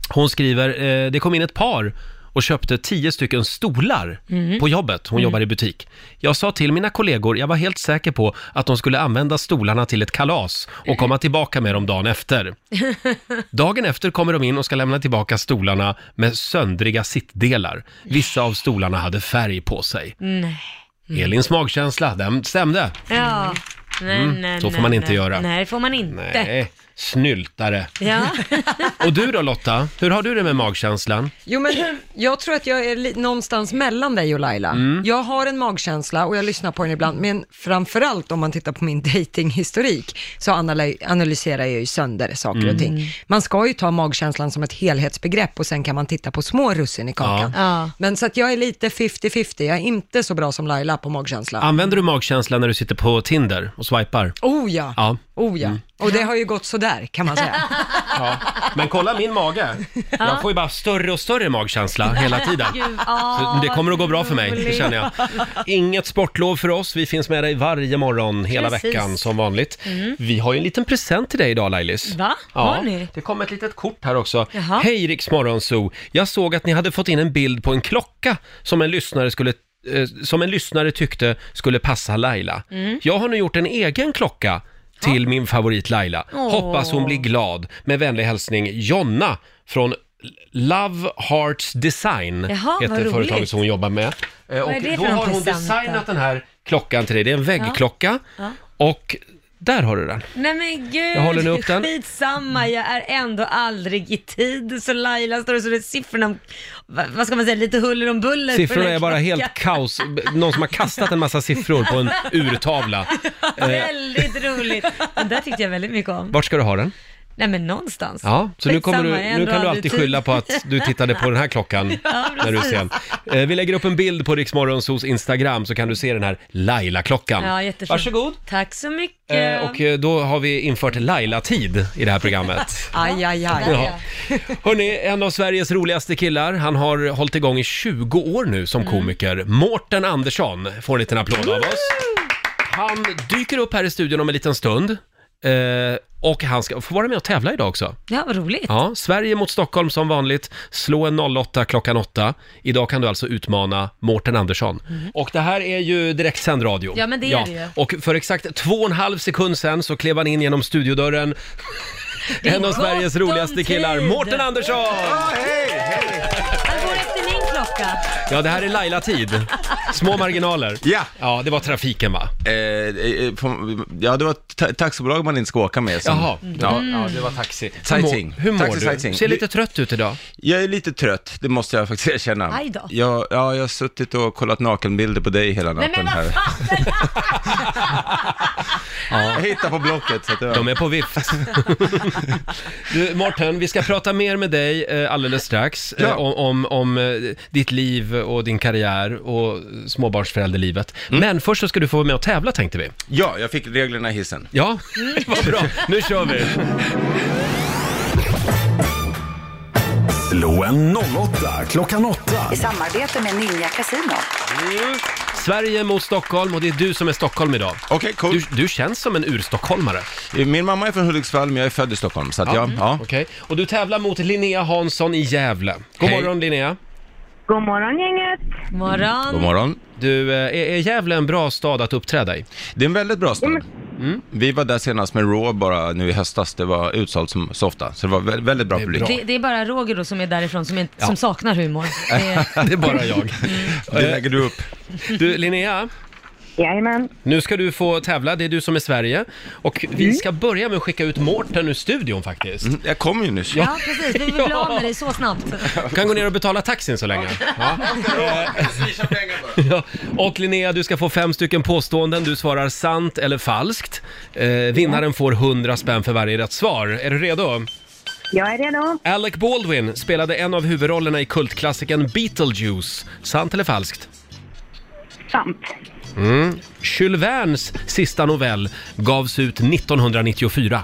Speaker 1: Hon skriver, eh, det kom in ett par och köpte tio stycken stolar
Speaker 6: Mm.
Speaker 1: på jobbet. Hon
Speaker 6: Mm.
Speaker 1: jobbar i butik. Jag sa till mina kollegor, jag var helt säker på att de skulle använda stolarna till ett kalas och komma tillbaka med dem dagen efter. Dagen efter kommer de in och ska lämna tillbaka stolarna med söndriga sittdelar. Vissa av stolarna hade färg på sig.
Speaker 2: Nej.
Speaker 6: Mm.
Speaker 1: Elins magkänsla, den stämde.
Speaker 2: Ja. Nej,
Speaker 1: Mm,
Speaker 2: nej,
Speaker 1: så får
Speaker 2: nej,
Speaker 1: man inte
Speaker 2: nej.
Speaker 1: göra.
Speaker 2: Nej, det får man inte.
Speaker 1: Nej, snyltare.
Speaker 2: Ja.
Speaker 1: Och du då Lotta, hur har du det med magkänslan?
Speaker 3: Jo, men jag tror att jag är li- någonstans mellan dig och Laila. Jag har en magkänsla och jag lyssnar på den ibland, men framförallt om man tittar på min datinghistorik så anala- analyserar jag ju sönder saker
Speaker 12: Mm.
Speaker 3: och ting. Man ska ju ta magkänslan som ett helhetsbegrepp och sen kan man titta på små russin i kakan.
Speaker 1: Ja.
Speaker 3: Men så att jag är lite 50-50, jag är inte så bra som Laila på magkänsla.
Speaker 1: Använder du magkänslan när du sitter på Tinder och swipar?
Speaker 3: Oh ja,
Speaker 1: Ja. Mm.
Speaker 3: oh ja. Och det har ju gått sådär kan man säga.
Speaker 1: ja. Men kolla min mage. Jag får ju bara större och större magkänsla hela tiden.
Speaker 2: Gud,
Speaker 1: Så
Speaker 2: ah,
Speaker 1: det kommer att gå bra för mig, det
Speaker 2: roligt.
Speaker 1: känner jag. Inget sportlov för oss, vi finns med dig varje morgon hela
Speaker 2: Precis.
Speaker 1: veckan som vanligt.
Speaker 2: Mm.
Speaker 1: Vi har ju en liten present till dig idag Lailis.
Speaker 2: Va?
Speaker 1: Ja.
Speaker 2: Har ni?
Speaker 1: Det kom ett litet kort här också.
Speaker 2: Jaha.
Speaker 1: Hej Riks Morgonzoo! Jag såg att ni hade fått in en bild på en klocka som en lyssnare skulle eh, som en lyssnare tyckte skulle passa Laila.
Speaker 2: Mm.
Speaker 1: Jag har nu gjort en egen klocka till min favorit Laila.
Speaker 2: Åh.
Speaker 1: Hoppas hon blir glad. Med vänlig hälsning Jonna från Love Hearts Design
Speaker 2: Jaha, vad
Speaker 1: heter
Speaker 2: roligt.
Speaker 1: företaget som hon jobbar med. Eh,
Speaker 2: Vad är det
Speaker 1: då
Speaker 2: för någon
Speaker 1: har hon
Speaker 2: present
Speaker 1: designat
Speaker 2: då?
Speaker 1: den här klockan till dig. Det är en väggklocka
Speaker 2: Ja.
Speaker 1: och där har du den.
Speaker 2: Nej men gud,
Speaker 1: Jag håller nu upp den.
Speaker 2: skitsamma, jag är ändå aldrig i tid. Så Laila står och så det är siffrorna, om- va- vad ska man säga, lite huller om buller. för
Speaker 1: Siffrorna
Speaker 2: den här
Speaker 1: är bara
Speaker 2: klockan.
Speaker 1: helt kaos. Någon som har kastat en massa siffror på en urtavla. Eh,
Speaker 2: Väldigt roligt. Den där tyckte jag väldigt mycket om.
Speaker 1: vart ska du ha den?
Speaker 2: Nej men någonstans.
Speaker 1: Ja, så nu, kommer
Speaker 2: Skitsamma, jag är
Speaker 1: du, nu
Speaker 2: ändå
Speaker 1: kan du
Speaker 2: aldrig i
Speaker 1: alltid
Speaker 2: tid.
Speaker 1: skylla på att du tittade på den här klockan
Speaker 2: Ja,
Speaker 1: när du
Speaker 2: precis.
Speaker 1: ser den. Eh, Vi lägger upp en bild på Riksmorgonsos Instagram så kan du se den här Laila-klockan.
Speaker 2: Ja, jättefint.
Speaker 1: Varsågod.
Speaker 2: Tack så mycket.
Speaker 1: Eh, Och eh, då har vi infört Laila-tid i det här programmet.
Speaker 3: Aj, aj, aj.
Speaker 1: Ja. Hörni, en av Sveriges roligaste killar, han har hållit igång i 20 år nu
Speaker 2: Mm.
Speaker 1: som komiker. Mårten Andersson får en liten applåd av oss. Han dyker upp här i studion om en liten stund. Eh, och han ska få vara med och tävla idag också.
Speaker 2: Ja, vad roligt.
Speaker 1: Ja, Sverige mot Stockholm som vanligt. Slå en 08 klockan 8. Idag kan du alltså utmana Mårten Andersson. Och det här är ju direktsänd radio.
Speaker 2: Mm. Ja, men det är det ju.
Speaker 1: Och för exakt två och en halv sekund sen så klev han in genom studiodörren.
Speaker 2: Det är
Speaker 1: En av
Speaker 2: gott
Speaker 1: Sveriges
Speaker 2: om
Speaker 1: roligaste
Speaker 2: tid.
Speaker 1: killar, Mårten Andersson!
Speaker 2: Han går efter min klocka.
Speaker 1: Ja, det här är Laila-tid. Små marginaler. Ja. Ja, det var trafiken va?
Speaker 16: Eh, ja, det var ta- taxibolag man inte ska åka med. som-
Speaker 1: Jaha.
Speaker 16: Ja,
Speaker 1: Mm.
Speaker 16: ja, det var taxi.
Speaker 1: Hur mår-
Speaker 16: Sighting.
Speaker 1: hur mår
Speaker 16: taxi,
Speaker 1: du?
Speaker 16: Sighting.
Speaker 1: Ser lite trött ut idag.
Speaker 16: Jag är lite trött, det måste jag faktiskt erkänna.
Speaker 2: Aj då.
Speaker 16: Jag, ja, jag har suttit och kollat nakenbilder på dig hela
Speaker 2: Nej
Speaker 16: natten
Speaker 2: men
Speaker 16: här.
Speaker 2: vad fan!
Speaker 16: Jag hittade på Blocket. Så att det var...
Speaker 1: De är på vift. Du, Morten, vi ska prata mer med dig eh, alldeles strax eh, om, om, om eh, ditt liv och din karriär och småbarnsförälderlivet.
Speaker 16: Mm.
Speaker 1: Men först så ska du få vara med och tävla tänkte vi.
Speaker 16: Ja, jag fick reglerna i hissen.
Speaker 1: Ja, vad bra. Nu kör vi.
Speaker 4: Slå en 08 klockan 8.
Speaker 18: I samarbete med Ninja Casino.
Speaker 1: Sverige mot Stockholm och det är du som är Stockholm idag.
Speaker 16: Okej, okay, coolt.
Speaker 1: Du, du känns som en urstockholmare.
Speaker 16: Min mamma är från Hudiksvall, men jag är född i Stockholm. Så att ja.
Speaker 1: Mm.
Speaker 16: ja.
Speaker 1: Okej. Och du tävlar mot Linnea Hansson i Gävle. God
Speaker 16: Hej.
Speaker 1: morgon Linnea.
Speaker 19: God morgon gänget!
Speaker 2: Morgon.
Speaker 16: morgon.
Speaker 1: Du, eh, är är Gävle en bra stad att uppträda i? Mm.
Speaker 16: Det är en väldigt bra stad. Vi var där senast med Raw bara nu i höstas. Det var utsålt som så ofta, så det var vä- väldigt bra publik.
Speaker 2: Det, det är bara Roger då som är därifrån som, inte,
Speaker 16: Ja.
Speaker 2: som saknar humor. Det,
Speaker 1: Det är bara jag.
Speaker 16: Det lägger du upp.
Speaker 1: Du, Linnea.
Speaker 19: Jajamän.
Speaker 1: Nu ska du få tävla, det är du som är Sverige. Och vi ska börja med att skicka ut Mårten ur studion faktiskt.
Speaker 16: Mm. Jag kom ju nyss.
Speaker 2: ja precis, vi vill bli av med dig så snabbt.
Speaker 1: Du kan gå ner och betala taxin så länge. Ja. Ja. Och Linnea, du ska få fem stycken påståenden. Du svarar sant eller falskt. Eh, vinnaren får 100 spänn för varje rätt svar. Är du redo?
Speaker 19: Jag är redo.
Speaker 1: Alec Baldwin spelade en av huvudrollerna i kultklassikern Beetlejuice. Sant eller falskt?
Speaker 19: Sant.
Speaker 1: Mm. Jules Vernes sista novell gavs ut 1994.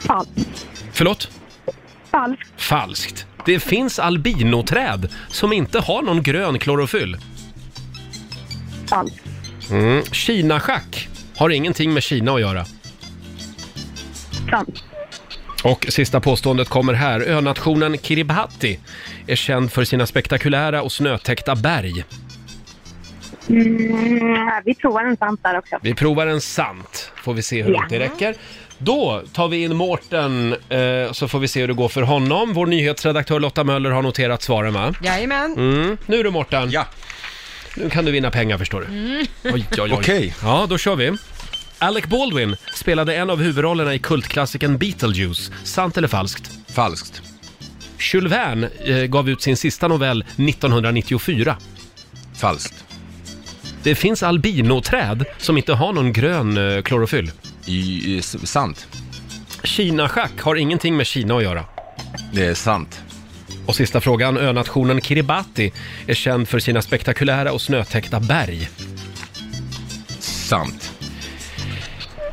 Speaker 19: Falskt.
Speaker 1: Förlåt?
Speaker 19: Falskt.
Speaker 1: Falskt. Det finns albinoträd som inte har någon grön klorofyll.
Speaker 19: Falskt.
Speaker 1: Mm. Kina-schack har ingenting med Kina att göra.
Speaker 19: Sant.
Speaker 1: Och sista påståendet kommer här. Önationen Kiribati är känd för sina spektakulära och snötäckta berg.
Speaker 19: Mm, vi provar en sant där också.
Speaker 1: Vi provar en sant, får vi se hur långt det
Speaker 19: Ja.
Speaker 1: räcker. Då tar vi in Mårten, eh, så får vi se hur det går för honom. Vår nyhetsredaktör Lotta Möller har noterat svaren, va?
Speaker 3: Jajamän.
Speaker 1: Mm. Nu du Mårten. Ja. Nu kan du vinna pengar förstår du.
Speaker 2: Mm.
Speaker 1: Oj, oj, oj. Okej. Ja, då kör vi. Alec Baldwin spelade en av huvudrollerna i kultklassikern Beetlejuice. Sant eller falskt? Falskt. Jules Verne eh, gav ut sin sista novell 1994. Falskt. Det finns albinoträd som inte har någon grön eh, klorofyll. I, sant. Kina-schack har ingenting med Kina att göra. Det är sant. Och sista frågan. Önationen Kiribati är känd för sina spektakulära och snötäckta berg. Sant.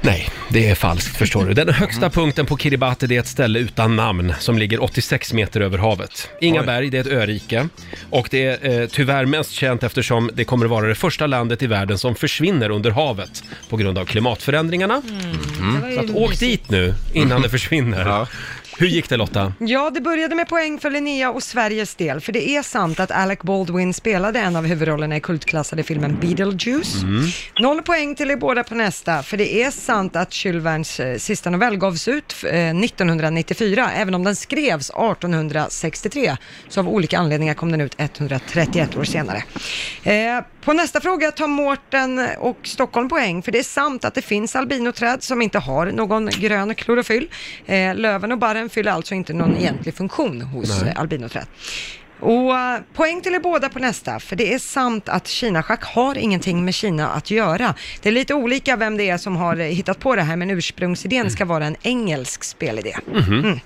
Speaker 1: Nej, det är falskt förstår du. Den högsta punkten på Kiribati det är ett ställe utan namn som ligger 86 meter över havet. Inga
Speaker 6: Oj.
Speaker 1: berg, det är ett örike. Och det är eh, tyvärr mest känt eftersom det kommer att vara det första landet i världen som försvinner under havet på grund av klimatförändringarna.
Speaker 3: det var ju
Speaker 1: Mm. Så att åk
Speaker 3: mysigt.
Speaker 1: dit nu innan det försvinner. Hur gick det Lotta?
Speaker 3: Ja, det började med poäng för Linnea och Sveriges del, för det är sant att Alec Baldwin spelade en av huvudrollerna i kultklassade filmen Beetlejuice.
Speaker 1: Mm,
Speaker 3: Noll poäng till er båda på nästa, för det är sant att Jules Vernes eh, sista novell gavs ut eh, 1994, även om den skrevs 1863, så av olika anledningar kom den ut 131 år senare. Eh, på nästa fråga tar Mårten och Stockholm poäng, för det är sant att det finns albinoträd som inte har någon grön klorofyll. Eh, löven och barren fyller alltså inte någon egentlig funktion hos
Speaker 12: Nej.
Speaker 3: eh, albinoträd. Och eh, poäng till er båda på nästa, för det är sant att kinaschack har ingenting med Kina att göra. Det är lite olika vem det är som har eh, hittat på det här, men ursprungsidén ska vara en engelsk spelidé.
Speaker 12: Mhm.
Speaker 3: Mm.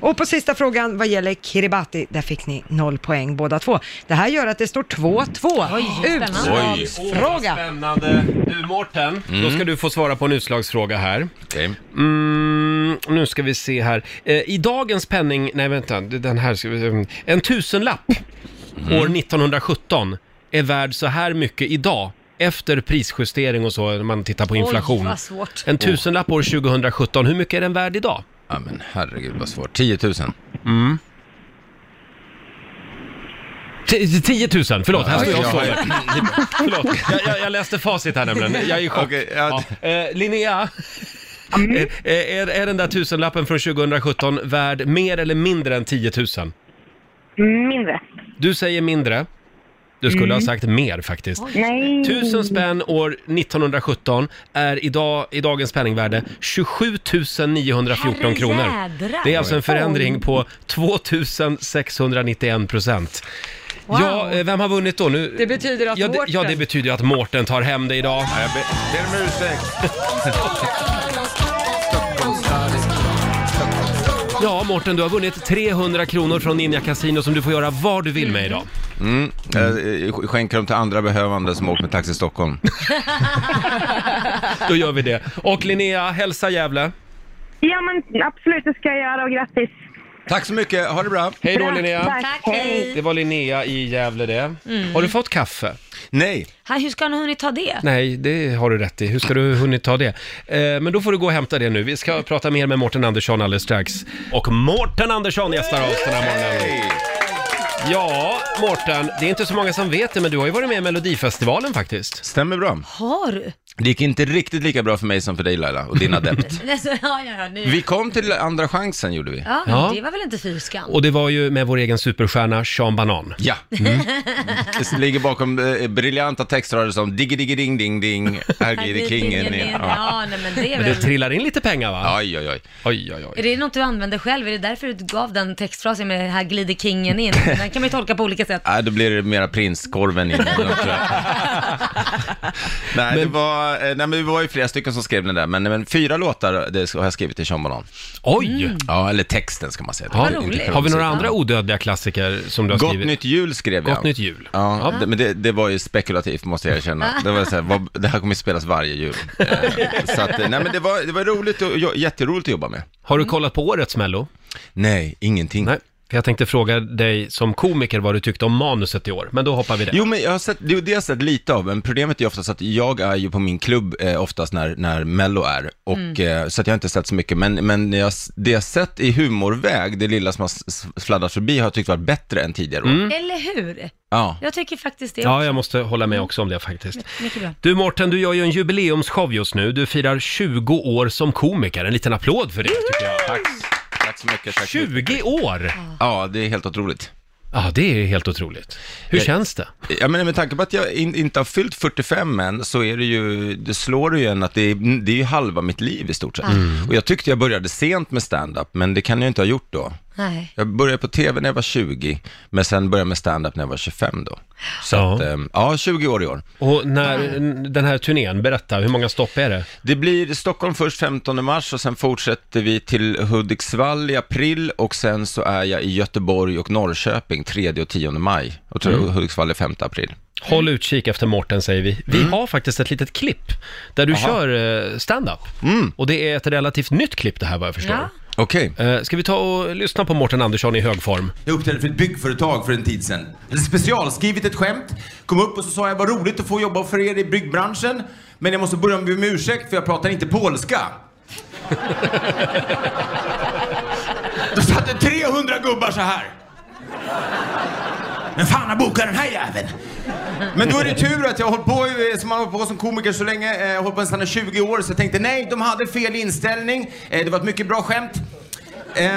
Speaker 3: Och på sista frågan vad gäller Kiribati, där fick ni noll poäng båda två. Det här gör att det står 2-2. Utslagsfråga.
Speaker 1: Spännande. Du Mårten, Då ska du få svara på en utslagsfråga här. Mm, nu ska vi se här. Eh, I dagens penning, nej vänta, den här, ska vi- mm. en tusenlapp år 1917 är värd så här mycket idag efter prisjustering och så när man tittar på
Speaker 2: Oj,
Speaker 1: inflation.
Speaker 2: vad svårt.
Speaker 1: En tusenlapp år 2017, hur mycket är den värd idag? Ja men herregud vad svårt, 10 000. Mm. T- 10 000, förlåt, här står jag och
Speaker 16: Ja,
Speaker 1: slår. Förlåt, jag, jag, jag läste facit här nämligen. Jag är i chock.
Speaker 16: Okej,
Speaker 1: ja. Eh, Linnea, är, är, är den där tusenlappen från 2017 värd mer eller mindre än 10 000?
Speaker 19: Mindre.
Speaker 1: Du säger mindre. Du skulle
Speaker 19: Mm.
Speaker 1: ha sagt mer faktiskt.
Speaker 19: Nej.
Speaker 1: Tusen spänn år 1917 är idag, i dagens penningvärde 27 914 kronor.
Speaker 2: Herrejädrar.
Speaker 1: Det är alltså en förändring
Speaker 2: Oj.
Speaker 1: på 2 691 procent.
Speaker 3: Wow.
Speaker 1: Ja, eh, vem har vunnit då? Nu,
Speaker 3: Det betyder att
Speaker 1: ja, det, ja, det
Speaker 3: Mårten-
Speaker 1: betyder att Mårten tar hem det idag. jag ber om ursäkt. Ja, Mårten, du har vunnit 300 kronor från Ninja Casino som du får göra vad du vill med idag.
Speaker 16: Mm. Jag skänker dem till andra behövande som åkt med Taxi Stockholm.
Speaker 1: Då gör vi det. Och Linnea, hälsa Gävle.
Speaker 19: Ja, men absolut, det ska jag göra och grattis.
Speaker 1: Tack så mycket, ha det bra. Hej då
Speaker 19: Bra,
Speaker 1: Linnea.
Speaker 19: tack. Tack, hej.
Speaker 1: Det var Linnea i Gävle det.
Speaker 2: Mm.
Speaker 1: Har du fått kaffe? Nej.
Speaker 2: Han, hur ska han ha hunnit ta det?
Speaker 1: Nej, det har du rätt i. Hur ska du hunnit ta det? Eh, men då får du gå och hämta det nu. Vi ska prata mer med Mårten Andersson alldeles strax. Och Mårten Andersson gästar oss den här morgonen. Ja, Mårten, det är inte så många som vet det, men du har ju varit med i Melodifestivalen faktiskt.
Speaker 16: Stämmer bra.
Speaker 2: Har du?
Speaker 16: Det gick inte riktigt lika bra för mig som för dig Laila och din adept.
Speaker 2: Alltså, ja, ja, ja, nu.
Speaker 16: Vi kom till andra chansen gjorde vi.
Speaker 2: ja, det var väl inte fy skam?
Speaker 1: Och det var ju med vår egen superstjärna Sean Banan.
Speaker 16: Ja. Mm. Det ligger bakom eh, briljanta textrader som diggi diggi ding ding ding, här glider kingen in.
Speaker 2: Ja, nej, men det är
Speaker 16: Men
Speaker 2: väl...
Speaker 16: det
Speaker 1: Trillar in lite pengar va?
Speaker 16: Oj, oj, oj.
Speaker 1: Oj, oj, oj.
Speaker 2: Är det något du använder själv? Är det därför du gav den textfrasen med här glider kingen in? Den kan man ju tolka på olika sätt.
Speaker 16: Nej, då blir det mera prinskorven in. tror jag. nej, det var, eh, nej, men det var ju flera stycken som skrev den där, men, men fyra låtar det har jag skrivit till Sean Banan.
Speaker 1: Oj! Mm.
Speaker 16: Ja, eller texten ska man säga.
Speaker 1: Ja,
Speaker 16: Det är inte själva
Speaker 1: har vi några
Speaker 16: musiken.
Speaker 1: andra odödliga klassiker som du har
Speaker 16: Gott
Speaker 1: skrivit?
Speaker 16: nytt jul skrev jag.
Speaker 1: Gott nytt jul.
Speaker 16: Ja, Det, men det, det var ju spekulativt måste jag erkänna. Det var så här, vad, det här kommer att spelas varje jul. Eh, så att, eh, nej men det var, det var roligt och jo- jätteroligt att jobba med.
Speaker 1: Har du kollat på årets Mello?
Speaker 16: Nej, ingenting.
Speaker 1: Nej. för Jag tänkte fråga dig som komiker vad du tyckte om manuset i år, men då hoppar vi det.
Speaker 16: Jo men jag har sett, det har jag sett lite av, men problemet är oftast att jag är ju på min klubb eh, oftast när, när Mello är, och,
Speaker 1: Mm.
Speaker 16: eh, så att jag har inte sett så mycket, men, men jag, s- det jag sett i humorväg, det lilla som har s- s- fladdrat förbi, har jag tyckt varit bättre än tidigare år.
Speaker 1: Mm.
Speaker 2: Eller hur?
Speaker 16: Ja.
Speaker 2: Jag tycker faktiskt det
Speaker 1: Ja,
Speaker 2: också.
Speaker 1: jag måste hålla med också om det faktiskt.
Speaker 2: Mycket bra.
Speaker 1: Du Mårten, du gör ju en jubileumsshow just nu. Du firar 20 år som komiker. En liten applåd för det tycker jag.
Speaker 16: Tack. Tack så mycket. Tack.
Speaker 1: 20 år!
Speaker 16: Ja, det är helt otroligt.
Speaker 1: Ja, det är helt otroligt. Hur känns det?
Speaker 16: Ja, men med tanke på att jag in, inte har fyllt 45 än, så är det ju, det slår det ju en att det är, det är ju halva mitt liv i stort sett.
Speaker 2: Mm.
Speaker 16: Och jag tyckte jag började sent med stand-up, men det kan jag inte ha gjort då.
Speaker 2: Nej.
Speaker 16: Jag började på tv när jag var 20, men sen började jag med stand-up när jag var 25 då. Så
Speaker 1: Ja.
Speaker 16: ja. Att, ehm, ja, 20 år i år.
Speaker 1: Och när, n- den här turnén, berätta, hur många stopp är det?
Speaker 16: Det blir Stockholm först 15 mars och sen fortsätter vi till Hudiksvall i april och sen så är jag i Göteborg och Norrköping 3 och 10 maj. Och tror jag
Speaker 1: Mm.
Speaker 16: Hudiksvall är 5 april.
Speaker 1: Håll utkik efter Mårten säger vi. Vi har faktiskt ett litet klipp där du
Speaker 16: Mm. Aha. Mm.
Speaker 1: kör eh, stand-up. Och det är ett relativt nytt klipp det här vad jag förstår.
Speaker 16: Ja. Okej.
Speaker 1: Eh, Ska vi ta och lyssna på Mårten Andersson i hög form?
Speaker 12: Jag uppträdde för ett byggföretag för en tid sedan. Jag hade specialskrivit ett skämt, kom upp och så sa jag vad roligt att få jobba för er i byggbranschen, men jag måste börja med om ursäkt för jag pratar inte polska. Då satt det 300 gubbar så här. Men fan, jag bokar den här jäveln. Men då är det tur att jag har hållit på, eh, som man har hållit på som komiker så länge, eh, jag har hållit på nästan i 20 år, så jag tänkte nej, de hade fel inställning, eh, det var ett mycket bra skämt. Eh,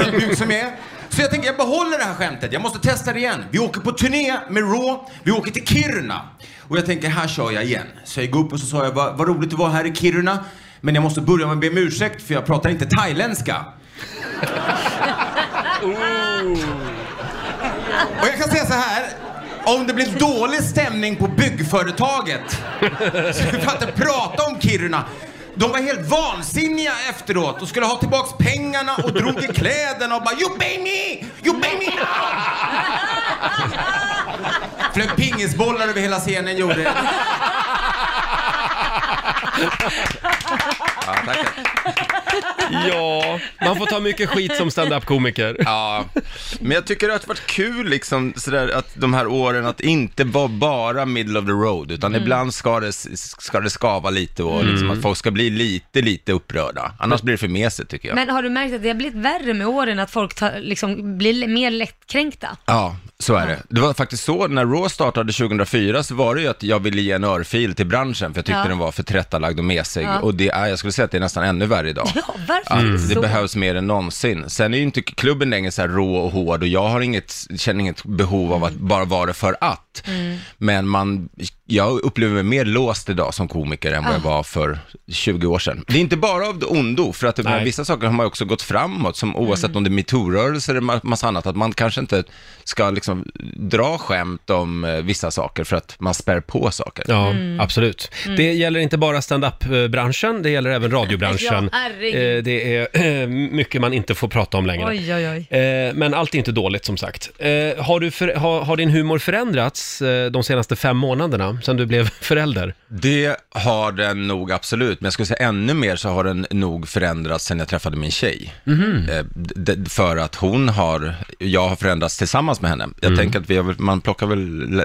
Speaker 12: Ödmjuk som jag är. Så jag tänker jag behåller det här skämtet, jag måste testa det igen. Vi åker på turné med Raw, vi åker till Kiruna. Och jag tänker här kör jag igen. Så jag går upp och så sa jag vad, vad roligt det var här i Kiruna. Men jag måste börja med att be om ursäkt för jag pratar inte thailändska. Och jag kan säga så här. Om det blir dålig stämning på byggföretaget, så vi får inte prata om Kiruna. De var helt vansinniga efteråt och skulle ha tillbaks pengarna och drog i kläderna och bara You pay me! You pay me now! Flög pingisbollar över hela scenen gjorde. Oh.
Speaker 1: Ja, man får ta mycket skit som standup-komiker.
Speaker 16: Ja, men jag tycker att det har varit kul liksom sådär att de här åren att inte vara bara middle of the road, utan
Speaker 1: Mm.
Speaker 16: ibland ska det, ska det skava lite och liksom
Speaker 1: Mm.
Speaker 16: att folk ska bli lite, lite upprörda. Annars blir det för mesigt tycker jag.
Speaker 2: Men har du märkt att det har blivit värre med åren, att folk tar, liksom, blir l- mer lättkränkta?
Speaker 16: Ja, så är det. Det var faktiskt så, när Raw startade 2004 så var det ju att jag ville ge en örfil till branschen för jag tyckte
Speaker 2: Ja.
Speaker 16: den var för trättalagd och mesig.
Speaker 2: Ja.
Speaker 16: Och det är, jag skulle säga att det är nästan ännu värre idag.
Speaker 2: Ja, varför
Speaker 1: Mm,
Speaker 16: Att
Speaker 2: är det
Speaker 16: Det
Speaker 2: så?
Speaker 16: behövs mer än någonsin. Sen är ju inte klubben längre så här rå och hård och jag har inget, känner inget behov av att bara vara det för att.
Speaker 2: Mm.
Speaker 16: Men man, jag upplever mig mer låst idag som komiker än vad jag
Speaker 2: Ah.
Speaker 16: var för 20 år sedan. Det är inte bara av det ondo, för att
Speaker 1: Nej.
Speaker 16: med vissa saker har man ju också gått framåt, som oavsett om det är metoo-rörelser eller ma- massa annat, att man kanske inte ska liksom dra skämt om eh, vissa saker för att man spär på saker.
Speaker 1: Ja, Mm. absolut. Mm. Det gäller inte bara standup-branschen, det gäller även radiobranschen.
Speaker 2: Ja, herregud.
Speaker 1: Eh, det är eh, mycket man inte får prata om längre.
Speaker 2: Oj, oj, oj.
Speaker 1: Eh, Men allt är inte dåligt som sagt. Eh, Har, du för, har, har din humor förändrats eh, de senaste fem månaderna, sedan du blev förälder?
Speaker 16: Det har den nog absolut, men jag skulle säga ännu mer så har den nog förändrats sen jag träffade min tjej.
Speaker 1: Mhm.
Speaker 16: Eh, d- d- För att hon har, jag har förändrats tillsammans med henne. Jag
Speaker 1: Mm.
Speaker 16: tänker att vi har, väl- man plockar väl,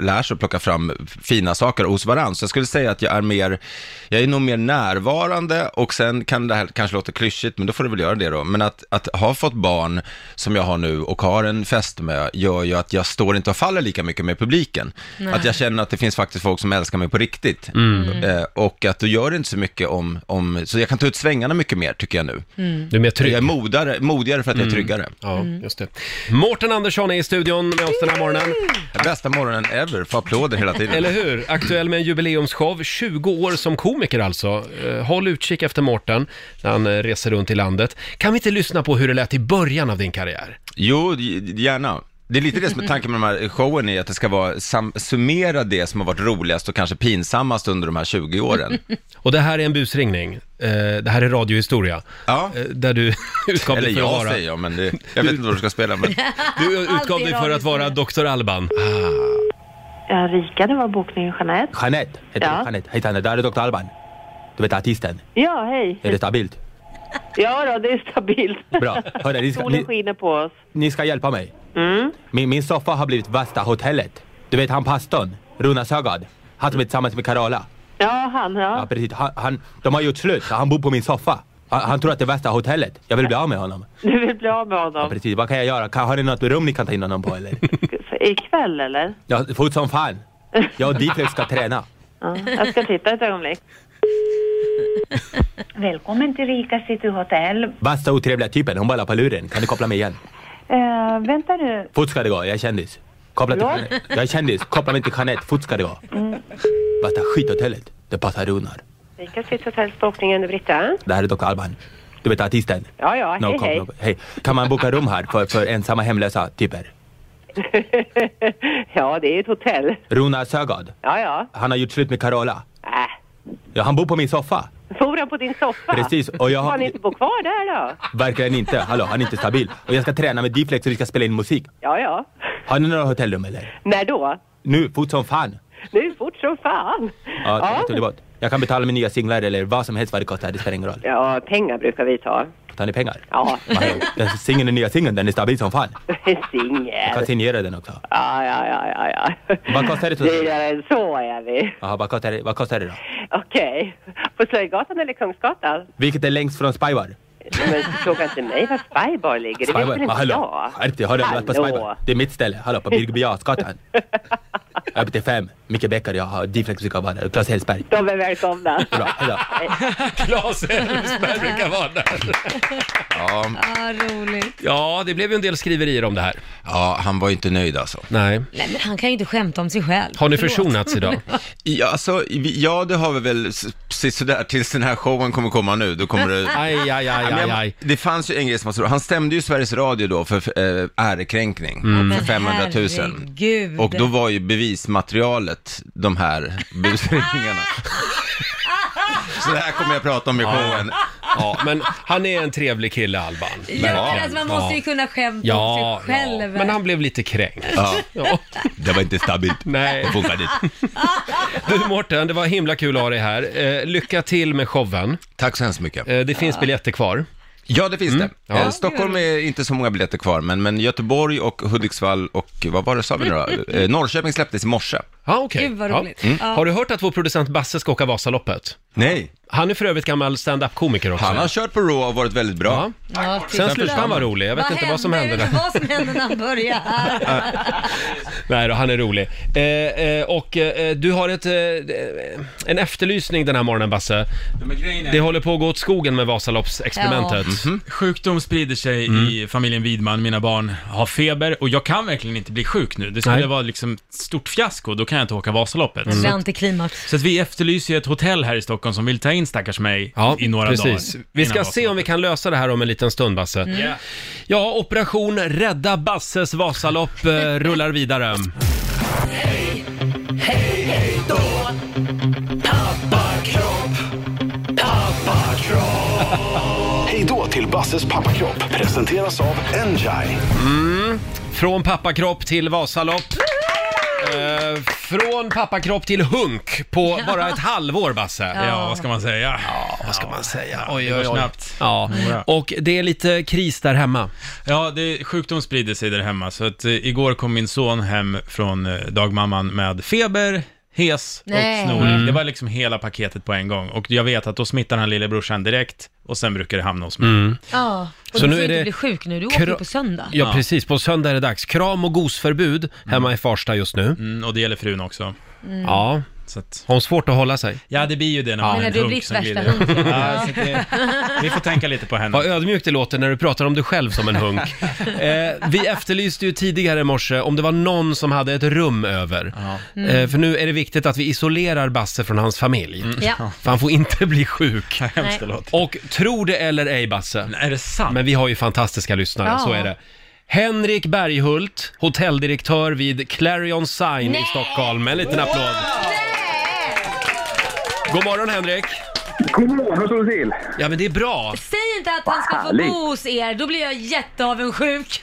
Speaker 16: lär sig att plocka fram fina saker hos varandra. Så jag skulle säga att jag är mer, jag är nog mer närvarande och sen kan det här kanske låta klyschigt, men då får du väl göra det då. Men att, att ha fått barn som jag har nu och har en fästmö gör ju att jag står inte och faller lika mycket med publiken.
Speaker 1: Nej.
Speaker 16: Att jag känner att det finns faktiskt folk som älskar mig på riktigt.
Speaker 1: Mm.
Speaker 16: Eh, och att då gör det inte så mycket om, om, så jag kan ta ut svängarna mycket mer tycker jag nu.
Speaker 1: Mm. Du är mer trygg.
Speaker 16: Jag är modare, modigare för att jag är
Speaker 1: Mm.
Speaker 16: tryggare.
Speaker 1: Ja, just det. Mårten Andersson är i studion med oss den här morgonen.
Speaker 16: Bästa morgonen ever, får applåder hela tiden.
Speaker 1: Eller hur? Aktuell med en jubileumsshow, 20 år som komiker alltså. Eh, Håll utkik efter Mårten när han eh, reser runt i landet. Kan vi inte lyssna på hur det lät i början av din karriär?
Speaker 16: Jo, g- gärna. Det är lite det som är tanken med de här showen, är att det ska vara, sam- summera det som har varit roligast och kanske pinsammast under de här 20 åren.
Speaker 1: Och det här är en busringning. Eh, Det här är radiohistoria.
Speaker 16: Eh,
Speaker 1: Där du utgav
Speaker 16: Eller
Speaker 1: dig för att
Speaker 16: jag
Speaker 1: vara...
Speaker 16: säger jag, men det, jag vet inte vad du ska spela. Men...
Speaker 1: Du utgav dig för att vara Dr. Alban.
Speaker 20: Ja, Rika, det var bokningen Jeanette.
Speaker 21: Ah. Jeanette heter
Speaker 20: Ja.
Speaker 21: ja. Jeanette. Hej Tanne, där är Dr. Alban. Du vet artisten.
Speaker 20: Ja, hej.
Speaker 21: Är det stabilt?
Speaker 20: Ja, då, det är stabilt.
Speaker 21: Bra. Hörde, ni, ska,
Speaker 20: Solen
Speaker 21: ni,
Speaker 20: skiner på oss.
Speaker 21: ni ska hjälpa mig.
Speaker 20: Mm.
Speaker 21: Min, min soffa har blivit värsta hotellet. Du vet han pastorn, Runa Sögaard. Han som är tillsammans med Carola.
Speaker 20: Ja, han,
Speaker 21: Ja,
Speaker 20: ja.
Speaker 21: precis. Han, han, de har gjort slut. Han bor på min soffa. Han, han tror att det är värsta hotellet. Jag vill bli av med honom.
Speaker 20: Du vill bli av med
Speaker 21: Ja,
Speaker 20: honom.
Speaker 21: precis. Vad kan jag göra? Kan, har ni något rum ni kan ta in honom på eller?
Speaker 20: För ikväll, eller?
Speaker 21: Ja, fort som fan. Jag och Dietrich ska träna.
Speaker 20: Ja. Jag ska titta ett ögonblick.
Speaker 22: Välkommen till Rika City Hotel.
Speaker 21: Värsta otrevliga typen. Hon bara lappar luren. Kan du koppla mig igen?
Speaker 20: Eh, vänta nu.
Speaker 21: Fort ska det gå, jag är kändis. Koppla till
Speaker 20: Förlåt?
Speaker 21: Jeanette. Jag är kändis, koppla mig till Jeanette. Fort ska det gå.
Speaker 20: Mm.
Speaker 21: Värsta skithotellet. Det passar Runar.
Speaker 20: Rikas fritidshotellsbokningen, Britta.
Speaker 21: Det här är Dr. Alban. Du vet artisten?
Speaker 20: Ja, ja, hej,
Speaker 21: cop,
Speaker 20: hej. ja, det är ett hotell.
Speaker 21: Runar Sögaard.
Speaker 20: Ja, ja.
Speaker 21: Han har gjort slut med Carola.
Speaker 20: Äh,
Speaker 21: Ja, han bor på min soffa.
Speaker 20: for han på din soffa?
Speaker 21: Precis, och jag har-
Speaker 20: Får han inte bo kvar där då?
Speaker 21: Verkligen inte. Hallå, han är inte stabil. Och jag ska träna med D-flex och vi ska spela in musik.
Speaker 20: Ja, ja.
Speaker 21: Har ni några hotellrum eller?
Speaker 20: När då?
Speaker 21: Nu, fort som fan.
Speaker 20: Nu fort som fan.
Speaker 21: Ja, det är helt underbart. Jag kan betala med nya singlar eller vad som helst vad det kostar, det spelar ingen roll.
Speaker 20: ja, pengar brukar vi ta.
Speaker 21: Tar ni pengar?
Speaker 20: Ja.
Speaker 21: Den singeln, den nya singeln, den är stabil som fan. Jag kan
Speaker 20: Singel.
Speaker 21: signera den också.
Speaker 20: Ja, ja, ja, ja, ja.
Speaker 21: Vad kostar det?
Speaker 20: Dyrare än så är vi.
Speaker 21: Jaha, vad kostar det, vad kostar det då?
Speaker 20: Okej. På Slöjgatan eller Kungsgatan?
Speaker 21: Vilket är längst från Spybar?
Speaker 20: Men fråga inte mig var Spybar ligger. Det vet väl inte
Speaker 21: hallå!
Speaker 20: jag?
Speaker 21: Skärp dig, har du varit på
Speaker 20: Hallå.
Speaker 21: Spybar? Det är mitt ställe, hallå, på Birger Biasgatan. Öppet till fem. Micke Bäckare, jag har D-flex brukar vara där. Claes Hellsberg.
Speaker 20: De är välkomna.
Speaker 21: Bra, hejdå.
Speaker 1: Claes Elfsberg brukar vara där.
Speaker 16: Ja.
Speaker 2: Ah, roligt.
Speaker 1: Ja, det blev ju en del skriverier om det här.
Speaker 16: Ja, han var ju inte nöjd alltså.
Speaker 1: Nej.
Speaker 2: Nej, men han kan ju inte skämta om sig själv.
Speaker 16: Har ni
Speaker 2: Förlåt.
Speaker 16: försonats idag? Ja, alltså, vi- ja det har vi väl s- precis sådär tills den här showen kommer komma nu. Då kommer det...
Speaker 1: Aj, aj, aj,
Speaker 16: Ja, men jag-
Speaker 1: aj, aj.
Speaker 16: Det fanns ju en grej som var så Han stämde ju Sveriges Radio då för eh, ärekränkning
Speaker 1: Mm.
Speaker 16: för 500 000.
Speaker 2: Herregud.
Speaker 16: Och då var ju bevismaterialet de här busringarna. så det här kommer jag prata om i showen.
Speaker 1: Ja, men han är en trevlig kille, Alban.
Speaker 2: Ja, alltså man måste ju kunna skämta om sig själv.
Speaker 1: men han blev lite kränkt.
Speaker 16: Ja. Det var inte stabilt.
Speaker 1: Nej.
Speaker 16: Det funkade inte.
Speaker 1: Du Mårten, det var himla kul att ha dig här. Eh, lycka till med showen.
Speaker 16: Tack så hemskt mycket.
Speaker 1: Eh, det finns biljetter kvar. Mm.
Speaker 16: Ja, det finns det.
Speaker 1: Ja.
Speaker 16: Eh, Stockholm är inte så många biljetter kvar, men, men Göteborg och Hudiksvall och vad var det sa vi nu då? Eh, Norrköping släpptes i morse.
Speaker 1: Ja, okej.
Speaker 2: Gud, vad roligt. Ja.
Speaker 1: Har du hört att vår producent Basse ska åka Vasaloppet?
Speaker 16: Mm. Nej.
Speaker 1: Han är för övrigt gammal stand-up-komiker också.
Speaker 16: Han har kört på Raw och varit väldigt bra.
Speaker 2: Ja,
Speaker 1: Sen slutade han vara rolig. Jag vet inte vad som hände
Speaker 2: Jag
Speaker 1: där.
Speaker 2: vet inte vad som hände när han började här.
Speaker 1: Nej då, han är rolig. Eh, eh, och eh, du har ett, eh, en efterlysning den här morgonen Basse. Det håller på att gå åt skogen med Vasaloppsexperimentet.
Speaker 6: Mm. Mhm. Sjukdom sprider sig
Speaker 1: Mm.
Speaker 6: i familjen Widman. Mina barn har feber och jag kan verkligen inte bli sjuk nu. Det skulle
Speaker 1: Nej.
Speaker 6: vara liksom ett stort fiasko, då kan jag inte åka Vasaloppet.
Speaker 1: Mm.
Speaker 2: Det
Speaker 6: Så,
Speaker 2: blir
Speaker 6: att,
Speaker 2: antiklimax.
Speaker 6: så att vi efterlyser ju ett hotell här i Stockholm som vill ta in stackars mig i några
Speaker 1: Precis.
Speaker 6: dagar.
Speaker 1: Vi
Speaker 6: innan
Speaker 1: ska
Speaker 6: Vasaloppet.
Speaker 1: se om vi kan lösa det här om en liten stund Basse.
Speaker 6: Mm. Ja.
Speaker 1: Ja, operation Rädda Basses Vasalopp eh, rullar vidare.
Speaker 10: Hej, hej då! Pappakropp, pappakropp.
Speaker 7: Hej då till Basses pappakropp presenteras av Enjoy.
Speaker 1: Mm. Från pappakropp till Vasalopp. Eh, från pappakropp till hunk på
Speaker 6: Ja.
Speaker 1: bara ett halvår Basse.
Speaker 6: Ja, vad ska man säga?
Speaker 1: Ja, vad ska man säga? Oj,
Speaker 6: det går
Speaker 1: oj, oj.
Speaker 6: snabbt. Mm.
Speaker 1: Ja. Och det är lite kris där hemma.
Speaker 6: Ja, det, sjukdom sprider sig där hemma, så att eh, igår kom min son hem från eh, dagmamman med feber, hes
Speaker 2: Nej.
Speaker 6: och snorig.
Speaker 2: Mm.
Speaker 6: Det var liksom hela paketet på en gång. Och jag vet att då smittar han lillebrorsan direkt, och sen brukar det hamna hos mig.
Speaker 1: Mm.
Speaker 2: Ja, och
Speaker 1: Så
Speaker 2: du
Speaker 1: nu
Speaker 2: får
Speaker 1: är
Speaker 2: inte
Speaker 1: det
Speaker 2: bli sjuk nu, du åker ju
Speaker 1: kro-
Speaker 2: på söndag.
Speaker 1: Ja, precis. På söndag är det dags. Kram och gosförbud hemma i Farsta just nu.
Speaker 6: och det gäller frun också.
Speaker 2: Mm.
Speaker 1: Ja. Har hon svårt att hålla sig?
Speaker 6: Ja, det blir ju det när
Speaker 2: Ja.
Speaker 6: man
Speaker 2: Men när
Speaker 6: är en
Speaker 2: du
Speaker 6: hunk
Speaker 2: blivit
Speaker 6: som
Speaker 2: värsta
Speaker 6: glider.
Speaker 2: hunken.
Speaker 6: Ja, så det, vi får tänka lite på henne.
Speaker 1: Vad ödmjukt det låter när du pratar om dig själv som en hunk. eh, vi efterlyste ju tidigare i morse om det var någon som hade ett rum över.
Speaker 2: Mm.
Speaker 1: Eh, för nu är det viktigt att vi isolerar Basse från hans familj.
Speaker 6: Mm.
Speaker 2: Ja.
Speaker 1: För han får inte bli sjuk.
Speaker 2: hemskt det Nej. låter.
Speaker 1: Och tro det eller ej Basse.
Speaker 6: Är det sant?
Speaker 1: Men vi har ju fantastiska lyssnare,
Speaker 2: Ja.
Speaker 1: så är det. Henrik Berghult, hotelldirektör vid Clarion Sign i Stockholm. En liten applåd. God morgon Henrik!
Speaker 5: God morgon, hur står det till?
Speaker 1: Ja men det är bra.
Speaker 2: Säg inte att han ska få
Speaker 5: Härligt.
Speaker 2: bo hos er, då blir jag jätteavundsjuk.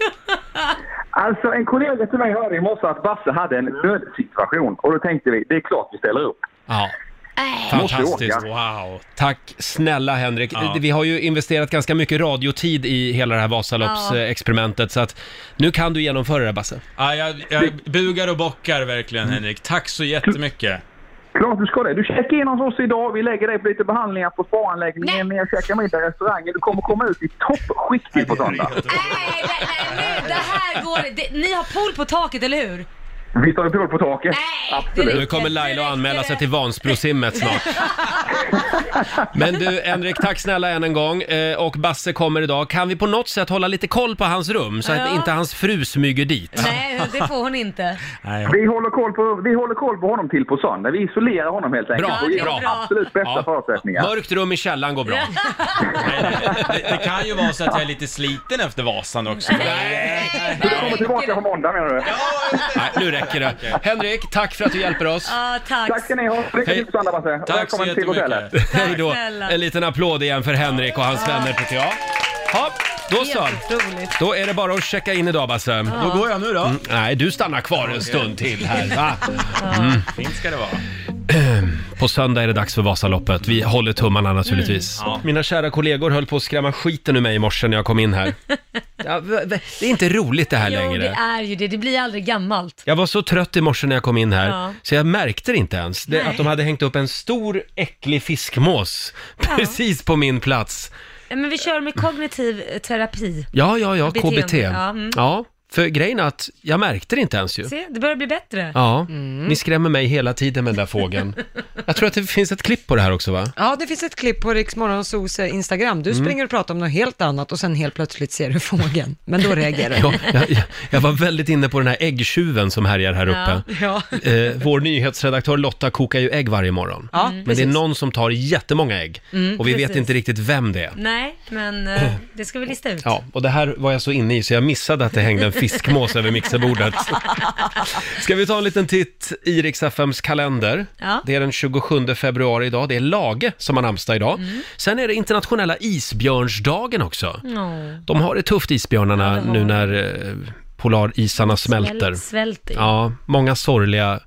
Speaker 5: Alltså, en kollega till mig hörde i morse att Basse hade en nödsituation och då tänkte vi, det är klart vi ställer upp.
Speaker 1: Ja.
Speaker 5: Måste
Speaker 1: Fantastiskt.
Speaker 5: åka.
Speaker 6: Wow.
Speaker 1: Tack snälla Henrik.
Speaker 6: Ja.
Speaker 1: Vi har ju investerat ganska mycket radiotid i hela det här
Speaker 6: Ja.
Speaker 1: Vasaloppsexperimentet så att nu kan du genomföra det Basse.
Speaker 6: Ja, jag, jag bugar och bockar
Speaker 1: Mm.
Speaker 6: verkligen, Henrik. Tack så jättemycket.
Speaker 5: Klart du ska det. Du checkar in hos oss idag, vi lägger dig på lite behandlingar på spaanläggningen, jag käkar middag i restaurangen. Du kommer komma ut i toppskicket på söndag.
Speaker 2: Det här går, det, ni har pool på taket, eller hur?
Speaker 5: Vi tar en proll på taket. Absolut.
Speaker 1: Nu kommer Laila att anmäla sig till Vansbrosimmet snart. Men du, Henrik, tack snälla än en gång. Eh, Och Basse kommer idag. Kan vi på något sätt hålla lite koll på hans rum så att
Speaker 2: Ja.
Speaker 1: inte hans fru smyger dit?
Speaker 2: Nej, Eh, det får hon inte.
Speaker 5: Vi håller, koll på, vi håller koll på honom till på söndag. Vi isolerar honom helt enkelt.
Speaker 1: Bra,
Speaker 5: och ger
Speaker 1: bra.
Speaker 5: honom absolut bästa
Speaker 1: Ja.
Speaker 5: förutsättningar.
Speaker 1: Mörkt rum i källaren går bra.
Speaker 6: Det, det kan ju vara så att jag är lite sliten efter Vasan också.
Speaker 5: Du kommer tillbaka på måndag menar du?
Speaker 1: Nej, nu räcker det. Henrik, tack för att du hjälper oss.
Speaker 2: Ja, tack.
Speaker 5: Tack ska ni ha. Lycka till på söndag Basse. Och
Speaker 1: Tack så
Speaker 5: Välkommen till hotellet.
Speaker 1: jättemycket. Hej då.
Speaker 2: snälla.
Speaker 1: En liten applåd igen för Henrik och hans vänner tycker jag. Ja, då så. Då är det bara att checka in idag Basse.
Speaker 6: Då går jag nu då.
Speaker 1: Mm, nej, du stannar kvar en stund till här va? Mm.
Speaker 6: Fint ska det vara.
Speaker 1: På söndag är det dags för Vasaloppet. Vi håller tummarna naturligtvis.
Speaker 6: Mm. Ja.
Speaker 1: Mina kära kollegor höll på att skrämma skiten ur mig i morse när jag kom in här. Ja, v- v- det är inte roligt det här
Speaker 2: Jo,
Speaker 1: längre.
Speaker 2: det är ju det. Det blir aldrig gammalt.
Speaker 1: Jag var så trött i morse när jag kom in här,
Speaker 2: Ja.
Speaker 1: så jag märkte det inte ens. Det,
Speaker 2: Nej.
Speaker 1: att de hade hängt upp en stor äcklig fiskmås precis på min plats.
Speaker 2: Ja, Eh, Men vi kör med kognitiv eh, terapi.
Speaker 1: Ja, ja, ja,
Speaker 2: Beteende.
Speaker 1: KBT.
Speaker 2: Ja,
Speaker 1: Ja,
Speaker 2: mm.
Speaker 1: för grejen är att jag märkte det inte ens ju.
Speaker 2: Se, det börjar bli bättre.
Speaker 1: Ja,
Speaker 2: Mm.
Speaker 1: ni skrämmer mig hela tiden med den där fågeln. Jag tror att det finns ett klipp på det här också va?
Speaker 3: Ja, det finns ett klipp på Riksmorgonsos Instagram. Du
Speaker 1: Mm.
Speaker 3: springer och pratar om något helt annat och sen helt plötsligt ser du fågeln. Men då reagerar
Speaker 1: Ja,
Speaker 3: du.
Speaker 1: jag, jag, jag var väldigt inne på den här äggtjuven som härjar här uppe.
Speaker 3: Ja.
Speaker 1: Eh, vår nyhetsredaktör Lotta kokar ju ägg varje morgon.
Speaker 2: Ja,
Speaker 1: Men det är
Speaker 2: precis.
Speaker 1: någon som tar jättemånga ägg
Speaker 2: Mm,
Speaker 1: och vi vet
Speaker 2: precis.
Speaker 1: inte riktigt vem det är.
Speaker 2: Nej, men eh, det ska vi lista ut.
Speaker 1: Ja, och det här var jag så inne i så jag missade att det hängde en fiskmås över mixerbordet. Ska vi ta en liten titt i Rix FMs kalender?
Speaker 2: Ja.
Speaker 1: Det är den 27 februari idag. Det är Lage som har namnsdag idag.
Speaker 2: Mm.
Speaker 1: Sen är det internationella isbjörnsdagen också.
Speaker 2: Ja.
Speaker 1: De har det tufft isbjörnarna
Speaker 2: Ja, det har
Speaker 1: nu
Speaker 2: de.
Speaker 1: när eh, polarisarna smälter.
Speaker 2: Svält- svälter.
Speaker 1: Ja, många sorgliga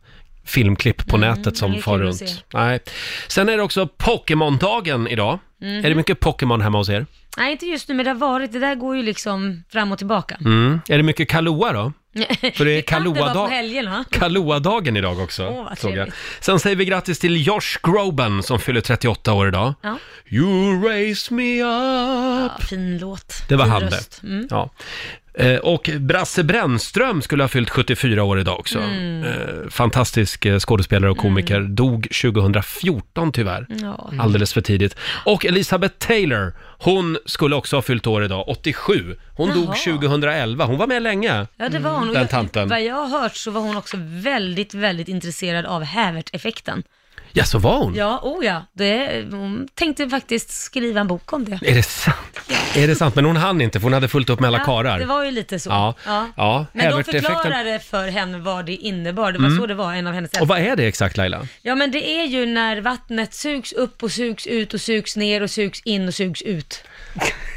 Speaker 1: filmklipp på
Speaker 2: Mm,
Speaker 1: nätet som
Speaker 2: inget
Speaker 1: far
Speaker 2: kul att
Speaker 1: runt.
Speaker 2: se.
Speaker 1: Nej. Sen är det också Pokémon-dagen idag.
Speaker 2: Mhm.
Speaker 1: Är det mycket Pokémon hemma hos er?
Speaker 2: Nej, inte just nu, men det har varit. Det där går ju liksom fram och tillbaka.
Speaker 1: Mm. Är det mycket Kahlua då? För det är
Speaker 2: kan det vara på
Speaker 1: Kahlua-dag.
Speaker 2: helgerna.
Speaker 1: Kahlua-dagen idag också.
Speaker 2: Åh, vad
Speaker 1: såg jag.
Speaker 2: trevligt.
Speaker 1: Sen säger vi grattis till Josh Groban som fyller 38 år idag.
Speaker 2: Ja.
Speaker 1: You raise me up.
Speaker 2: Ja, fin låt.
Speaker 1: Det var
Speaker 2: fin
Speaker 1: han
Speaker 2: röst.
Speaker 1: det.
Speaker 2: Mm.
Speaker 1: Ja. Eh, Och Brasse Brännström skulle ha fyllt 74 år idag också.
Speaker 2: Mm.
Speaker 1: Eh, Fantastisk eh, skådespelare och komiker. Dog 2014 tyvärr.
Speaker 2: Ja.
Speaker 1: Alldeles för tidigt. Och Elizabeth Taylor, hon skulle också ha fyllt år idag, 87. Hon
Speaker 2: Jaha.
Speaker 1: dog 2011. Hon var med länge,
Speaker 2: Ja, det var hon. Och
Speaker 1: Mm, den
Speaker 2: jag-
Speaker 1: tanten.
Speaker 2: Vad jag har hört så var hon också väldigt, väldigt intresserad av Hävert-effekten.
Speaker 1: Ja, så var hon?
Speaker 2: Ja, oh ja. Det, hon tänkte faktiskt skriva en bok om det.
Speaker 1: Är det sant? Är det sant? Men hon hann inte för hon hade fullt upp med alla
Speaker 2: Ja,
Speaker 1: karar.
Speaker 2: det var ju lite så.
Speaker 1: Ja. Ja,
Speaker 2: Men de
Speaker 1: Hävert-effekten-
Speaker 2: förklarade för henne vad det innebar. Det var
Speaker 1: Mm.
Speaker 2: så det var, en av hennes
Speaker 1: Och vad är det exakt Laila?
Speaker 2: Ja, men det är ju när vattnet sugs upp och sugs ut och sugs ner och sugs in och sugs ut.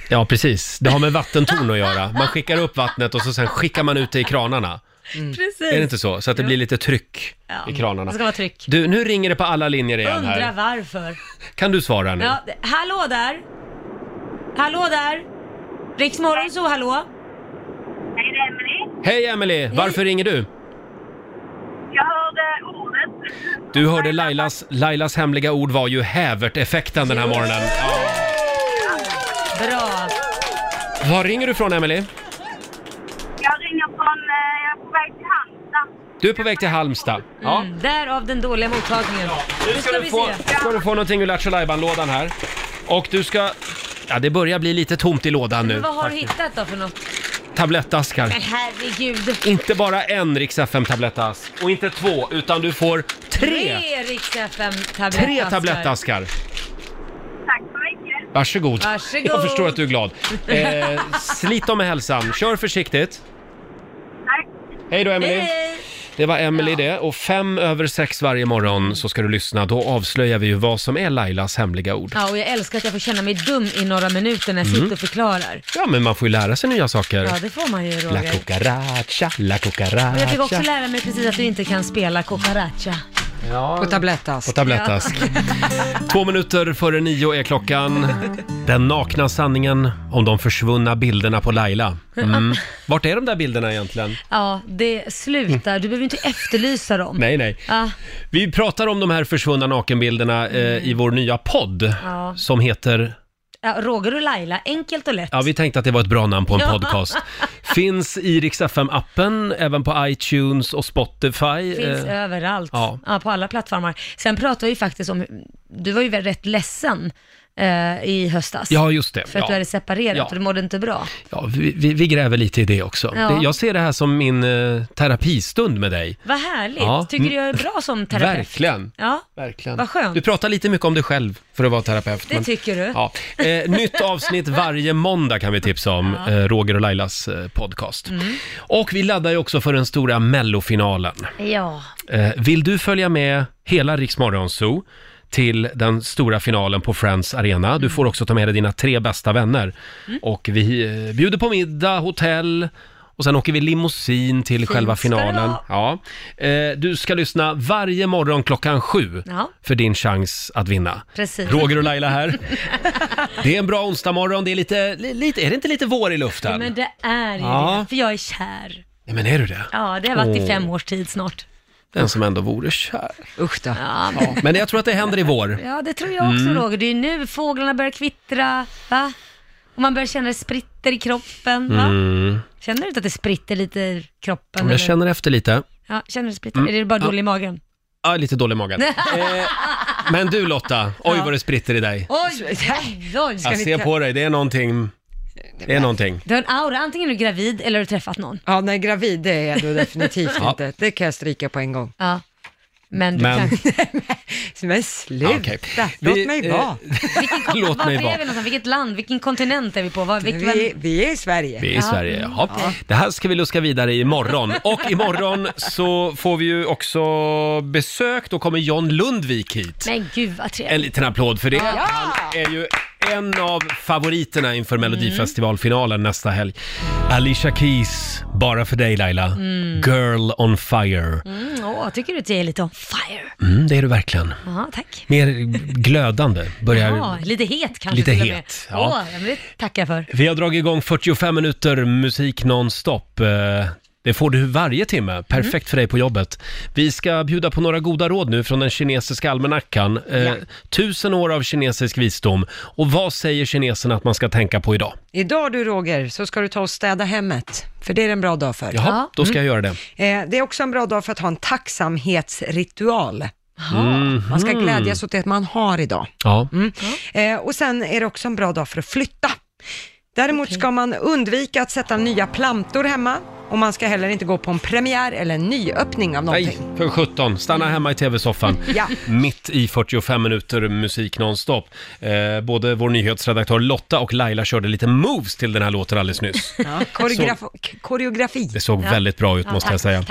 Speaker 1: Ja, precis. Det har med vattentorn att göra. Man skickar upp vattnet och så sen skickar man ut det i kranarna.
Speaker 2: Precis.
Speaker 1: Mm. Är det inte så? Så att det
Speaker 2: Jo.
Speaker 1: blir lite tryck
Speaker 2: Ja.
Speaker 1: i kranarna.
Speaker 2: Det ska vara tryck.
Speaker 1: Du, nu ringer det på alla linjer igen
Speaker 2: Undrar
Speaker 1: här.
Speaker 2: varför.
Speaker 1: Kan du svara nu?
Speaker 2: Ja, det- hallå där! Hallå där! Riksmorgon så hallå?
Speaker 8: Hej, det är Emelie.
Speaker 1: Hej Emily, varför ringer du?
Speaker 8: Jag hörde ordet.
Speaker 1: Du hörde Lailas, Lailas hemliga ord var ju hävert-effekten den här morgonen. Ja.
Speaker 2: Bra.
Speaker 1: Var ringer du från Emily?
Speaker 8: Jag ringer från... eh, Jag är på väg till Halmstad.
Speaker 1: Du är på väg till Halmstad. Ja.
Speaker 2: Mm, därav den dåliga mottagningen.
Speaker 1: Nu ska du få, ska du få någonting ur Lattjo lådan här. Och du ska... Ja, det börjar bli lite tomt i lådan nu.
Speaker 2: Men vad har du
Speaker 1: faktiskt.
Speaker 2: hittat då för något?
Speaker 1: Tablettaskar.
Speaker 2: Men herregud.
Speaker 1: Inte bara en Rix FM-tablettask och inte två, utan du får tre!
Speaker 2: Tre Rix FM tablettaskar.
Speaker 1: Tre tablettaskar!
Speaker 8: Tack så mycket.
Speaker 1: Varsågod.
Speaker 8: Varsågod.
Speaker 1: Jag förstår att du är glad. Eh, slit dem med hälsan. Kör försiktigt.
Speaker 8: Tack.
Speaker 1: Hej då, Emily.
Speaker 8: Hej.
Speaker 1: Det var Emily det. Och fem över sex varje morgon så ska du lyssna. Då avslöjar vi ju vad som är Lailas hemliga ord.
Speaker 2: Ja, och jag älskar att jag får känna mig dum i några minuter när jag
Speaker 1: Mm.
Speaker 2: sitter och förklarar.
Speaker 1: Ja, men man får ju lära sig nya saker.
Speaker 2: Ja, det får man ju
Speaker 1: La
Speaker 2: Roger.
Speaker 1: cucaracha, la
Speaker 2: Och jag fick också
Speaker 1: cucaracha.
Speaker 2: lära mig precis att du inte kan spela Cucaracha.
Speaker 1: Ja.
Speaker 3: På tablettask.
Speaker 1: På tablettask. Två minuter före nio är klockan. Den nakna sanningen om de försvunna bilderna på Laila. Mm. Vart är de där bilderna egentligen?
Speaker 2: Ja, det slutar. Du behöver inte efterlysa dem.
Speaker 1: Nej, nej.
Speaker 2: Ja,
Speaker 1: Vi pratar om de här försvunna nakenbilderna eh, i vår nya podd
Speaker 2: ja.
Speaker 1: som heter
Speaker 2: Ja, Roger och Laila, enkelt och lätt.
Speaker 1: Ja, vi tänkte att det var ett bra namn på en
Speaker 2: Ja.
Speaker 1: podcast. Finns i Rix FM-appen, även på iTunes och Spotify.
Speaker 2: Finns
Speaker 1: Eh,
Speaker 2: överallt,
Speaker 1: ja.
Speaker 2: ja. på alla plattformar. Sen pratar vi faktiskt om, du var ju väl rätt ledsen eh, i höstas.
Speaker 1: Ja, just det.
Speaker 2: För att
Speaker 1: Ja.
Speaker 2: du hade separerat
Speaker 1: Ja.
Speaker 2: och du mådde inte bra.
Speaker 1: Ja, vi, vi, vi gräver lite i det också.
Speaker 2: Ja.
Speaker 1: Det, jag ser det här som min eh, terapistund med dig.
Speaker 2: Vad härligt,
Speaker 1: Ja.
Speaker 2: tycker
Speaker 1: Mm.
Speaker 2: du jag är bra som terapeut?
Speaker 1: Verkligen.
Speaker 2: Ja,
Speaker 1: Verkligen.
Speaker 2: vad skönt.
Speaker 1: Du pratar lite mycket om dig själv för att vara terapeut.
Speaker 2: Det tycker du.
Speaker 1: Ja. Eh, nytt avsnitt varje måndag kan vi tipsa om,
Speaker 2: Ja. Mm.
Speaker 1: eh, Roger och Lailas eh, podcast. Och vi laddar ju också för den stora mellofinalen.
Speaker 2: Ja,
Speaker 1: Eh, vill du följa med hela Rix Morgon Zoo till den stora finalen på Friends Arena? Du får också ta med dig dina tre bästa vänner.
Speaker 2: Mm.
Speaker 1: Och vi eh, bjuder på middag, hotell och sen åker vi limousin till
Speaker 2: Fint
Speaker 1: själva
Speaker 2: ska det
Speaker 1: finalen. Ja. Eh, du ska lyssna varje morgon klockan sju
Speaker 2: Ja.
Speaker 1: för din chans att vinna.
Speaker 2: precis.
Speaker 1: Roger och Laila här. Det är en bra onsdagmorgon. Det är lite, li- lite, är det inte lite vår i luften?
Speaker 2: Men det är ju
Speaker 1: Ja.
Speaker 2: det, för jag är kär.
Speaker 1: Nej, men är du det?
Speaker 2: Ja, det har varit
Speaker 1: Åh.
Speaker 2: i fem års tid snart.
Speaker 1: Den som ändå vore kär.
Speaker 3: Usch då.
Speaker 2: Ja,
Speaker 1: Ja, men jag tror att det händer i vår.
Speaker 2: Ja, det tror jag också
Speaker 1: Mm.
Speaker 2: Roger. Det är ju nu fåglarna börjar kvittra, va? Och man börjar känna det spritter i kroppen, va?
Speaker 1: Mm.
Speaker 2: Känner du inte att det spritter lite i kroppen?
Speaker 1: Men
Speaker 2: eller?
Speaker 1: jag känner efter lite.
Speaker 2: Ja, känner du det spritter?
Speaker 1: Mm.
Speaker 2: Är det bara
Speaker 1: Ja. Eh.
Speaker 2: dålig i magen?
Speaker 1: Ja, lite dålig i magen. Men du Lotta, oj vad det spritter i dig.
Speaker 2: Oj, oj, oj.
Speaker 1: Jag ser på dig, det är någonting. Det är någonting.
Speaker 2: Du har en aura, antingen är du gravid eller har du träffat någon.
Speaker 3: Ja, nej, gravid det är jag då definitivt
Speaker 1: Ja.
Speaker 3: inte. Det kan jag stryka på en gång.
Speaker 2: Ja. Men du
Speaker 1: Men-
Speaker 2: kan...
Speaker 3: Men sluta,
Speaker 1: Okej.
Speaker 3: låt
Speaker 1: Vi,
Speaker 3: mig
Speaker 1: eh,
Speaker 3: vara.
Speaker 1: Låt
Speaker 2: Var
Speaker 1: mig
Speaker 2: är vi
Speaker 1: vara.
Speaker 2: någonstans? Vilket land? Vilken kontinent är vi på? Var, vilk,
Speaker 3: Vi, vi är i Sverige. Mm.
Speaker 1: Vi är i Sverige, jaha. Det här ska vi luska vidare i imorgon. Och imorgon så får vi ju också besök. Då kommer John Lundvik hit.
Speaker 2: Men gud vad
Speaker 1: En
Speaker 2: trevligt.
Speaker 1: liten applåd för det.
Speaker 2: Ja.
Speaker 1: Han är ju en av favoriterna inför Melodifestivalfinalen nästa helg. Alicia Keys, bara för dig Laila.
Speaker 2: Mm.
Speaker 1: Girl on fire.
Speaker 2: Mm, åh, tycker du att jag är lite on fire?
Speaker 1: Mm, det är du verkligen.
Speaker 2: Ja, tack.
Speaker 1: Mer glödande. Börjar...
Speaker 2: Ja, lite het kanske
Speaker 1: Lite
Speaker 2: till och med.
Speaker 1: het, ja.
Speaker 2: Åh, ja, men det tackar jag för.
Speaker 1: Vi har dragit igång 45 minuter musik nonstop. Eh, Det får du varje timme.
Speaker 3: Mm.
Speaker 1: Perfekt för dig på jobbet. Vi ska bjuda på några goda råd nu från den kinesiska almanackan. Eh, Tusen år av kinesisk visdom. Och vad säger kineserna att man ska tänka på idag?
Speaker 3: Idag du Roger, så ska du ta och städa hemmet, för det är en bra dag för.
Speaker 1: Jaha, då ska jag göra
Speaker 2: Mm.
Speaker 1: det.
Speaker 3: Eh, det är också en bra dag för att ha en tacksamhetsritual.
Speaker 1: Mhm.
Speaker 3: Man ska glädjas åt det man har idag.
Speaker 1: Ja.
Speaker 3: Mm. Eh, och sen är det också en bra dag för att flytta. Däremot ska man undvika att sätta nya plantor hemma och man ska heller inte gå på en premiär eller en nyöppning av någonting. Mm.
Speaker 1: Nej, för 17. Stanna hemma i tv-soffan.
Speaker 3: Ja.
Speaker 1: Mitt i 45 minuter musik nonstop. Eh, både vår nyhetsredaktör Lotta och Laila körde lite moves till den här låten alldeles nyss.
Speaker 3: Koreograf- k- koreografi.
Speaker 1: Det såg väldigt bra ut måste jag säga.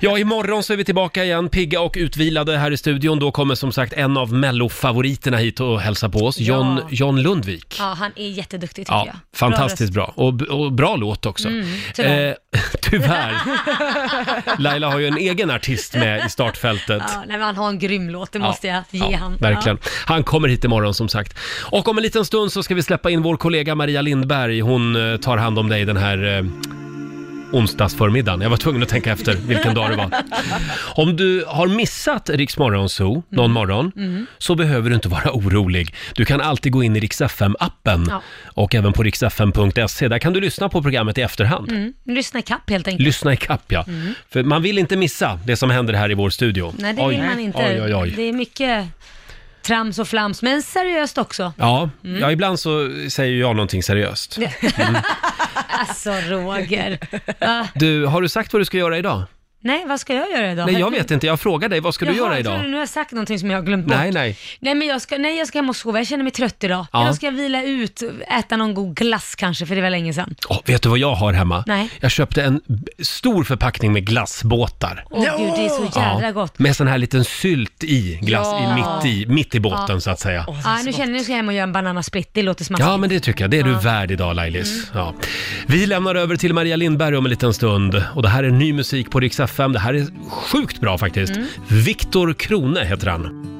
Speaker 1: Ja, imorgon så är vi tillbaka igen, pigga och utvilade här i studion. Då kommer som sagt en av mellofavoriterna hit och hälsa på oss, John, John Lundvik.
Speaker 2: Ja, han är jätteduktig tycker
Speaker 1: Ja,
Speaker 2: jag.
Speaker 1: fantastiskt bra. Och, och bra låt också. Eh,
Speaker 2: Mm, tyvärr.
Speaker 1: tyvärr.
Speaker 2: röst.
Speaker 1: Laila har ju en egen artist med i startfältet.
Speaker 2: Ja, nej, men han har en grym låt, det måste jag ge
Speaker 1: Ja,
Speaker 2: han.
Speaker 1: verkligen. Han kommer hit imorgon som sagt. Och om en liten stund så ska vi släppa in vår kollega Maria Lindberg. Hon eh, tar hand om dig den här eh, onsdagsförmiddagen. Jag var tvungen att tänka efter vilken dag det var. Om du har missat Rix Morgon Zoo någon morgon
Speaker 10: Mm.
Speaker 1: så behöver du inte vara orolig. Du kan alltid gå in i Rix FM-appen
Speaker 2: Ja.
Speaker 1: och även på riksfm.se. E. Där kan du lyssna på programmet i efterhand.
Speaker 2: Mm. Lyssna ikapp helt enkelt.
Speaker 1: Lyssna i kapp, ja.
Speaker 2: Mm.
Speaker 1: För man vill inte missa det som händer här i vår studio.
Speaker 2: Nej, det vill man inte.
Speaker 1: Oj, oj, oj.
Speaker 2: Det är mycket trams och flams, men seriöst också.
Speaker 1: Ja,
Speaker 2: Mm.
Speaker 1: ja, ibland så säger jag någonting seriöst.
Speaker 2: alltså Roger. Va?
Speaker 1: Du, har du sagt vad du ska göra idag?
Speaker 2: Nej, vad ska jag göra idag?
Speaker 1: Nej, jag vet inte. Jag frågar dig, vad ska du
Speaker 2: Jaha,
Speaker 1: göra
Speaker 2: jag trodde
Speaker 1: idag?
Speaker 2: Nu har jag sagt någonting som jag har glömt bort.
Speaker 1: Nej, nej.
Speaker 2: Nej, men jag ska, nej, jag ska hem och sova. Jag känner mig trött idag.
Speaker 1: Ja.
Speaker 2: Idag ska jag vila ut, äta någon god glass kanske, för det var länge sedan.
Speaker 1: Åh, vet du vad jag har hemma?
Speaker 2: Nej.
Speaker 1: Jag köpte en b- stor förpackning med glassbåtar.
Speaker 2: Åh gud, det är så jädra gott.
Speaker 1: Med sån här liten sylt i, glass
Speaker 2: Ja.
Speaker 1: i, mitt, i, mitt i båten
Speaker 2: Ja.
Speaker 1: så att säga.
Speaker 2: Ja, nu känner jag att jag ska hem och göra en bananasplit. Det låter smaskigt.
Speaker 1: Ja, men det tycker jag. Det är du värd idag, Lailis.
Speaker 2: Mm.
Speaker 1: Ja. Vi lämnar över till Maria Lindberg om en liten stund. Och det här
Speaker 2: Mm.
Speaker 1: är ny musik på Rix FM. Det här är sjukt bra faktiskt. Viktor Krone heter han.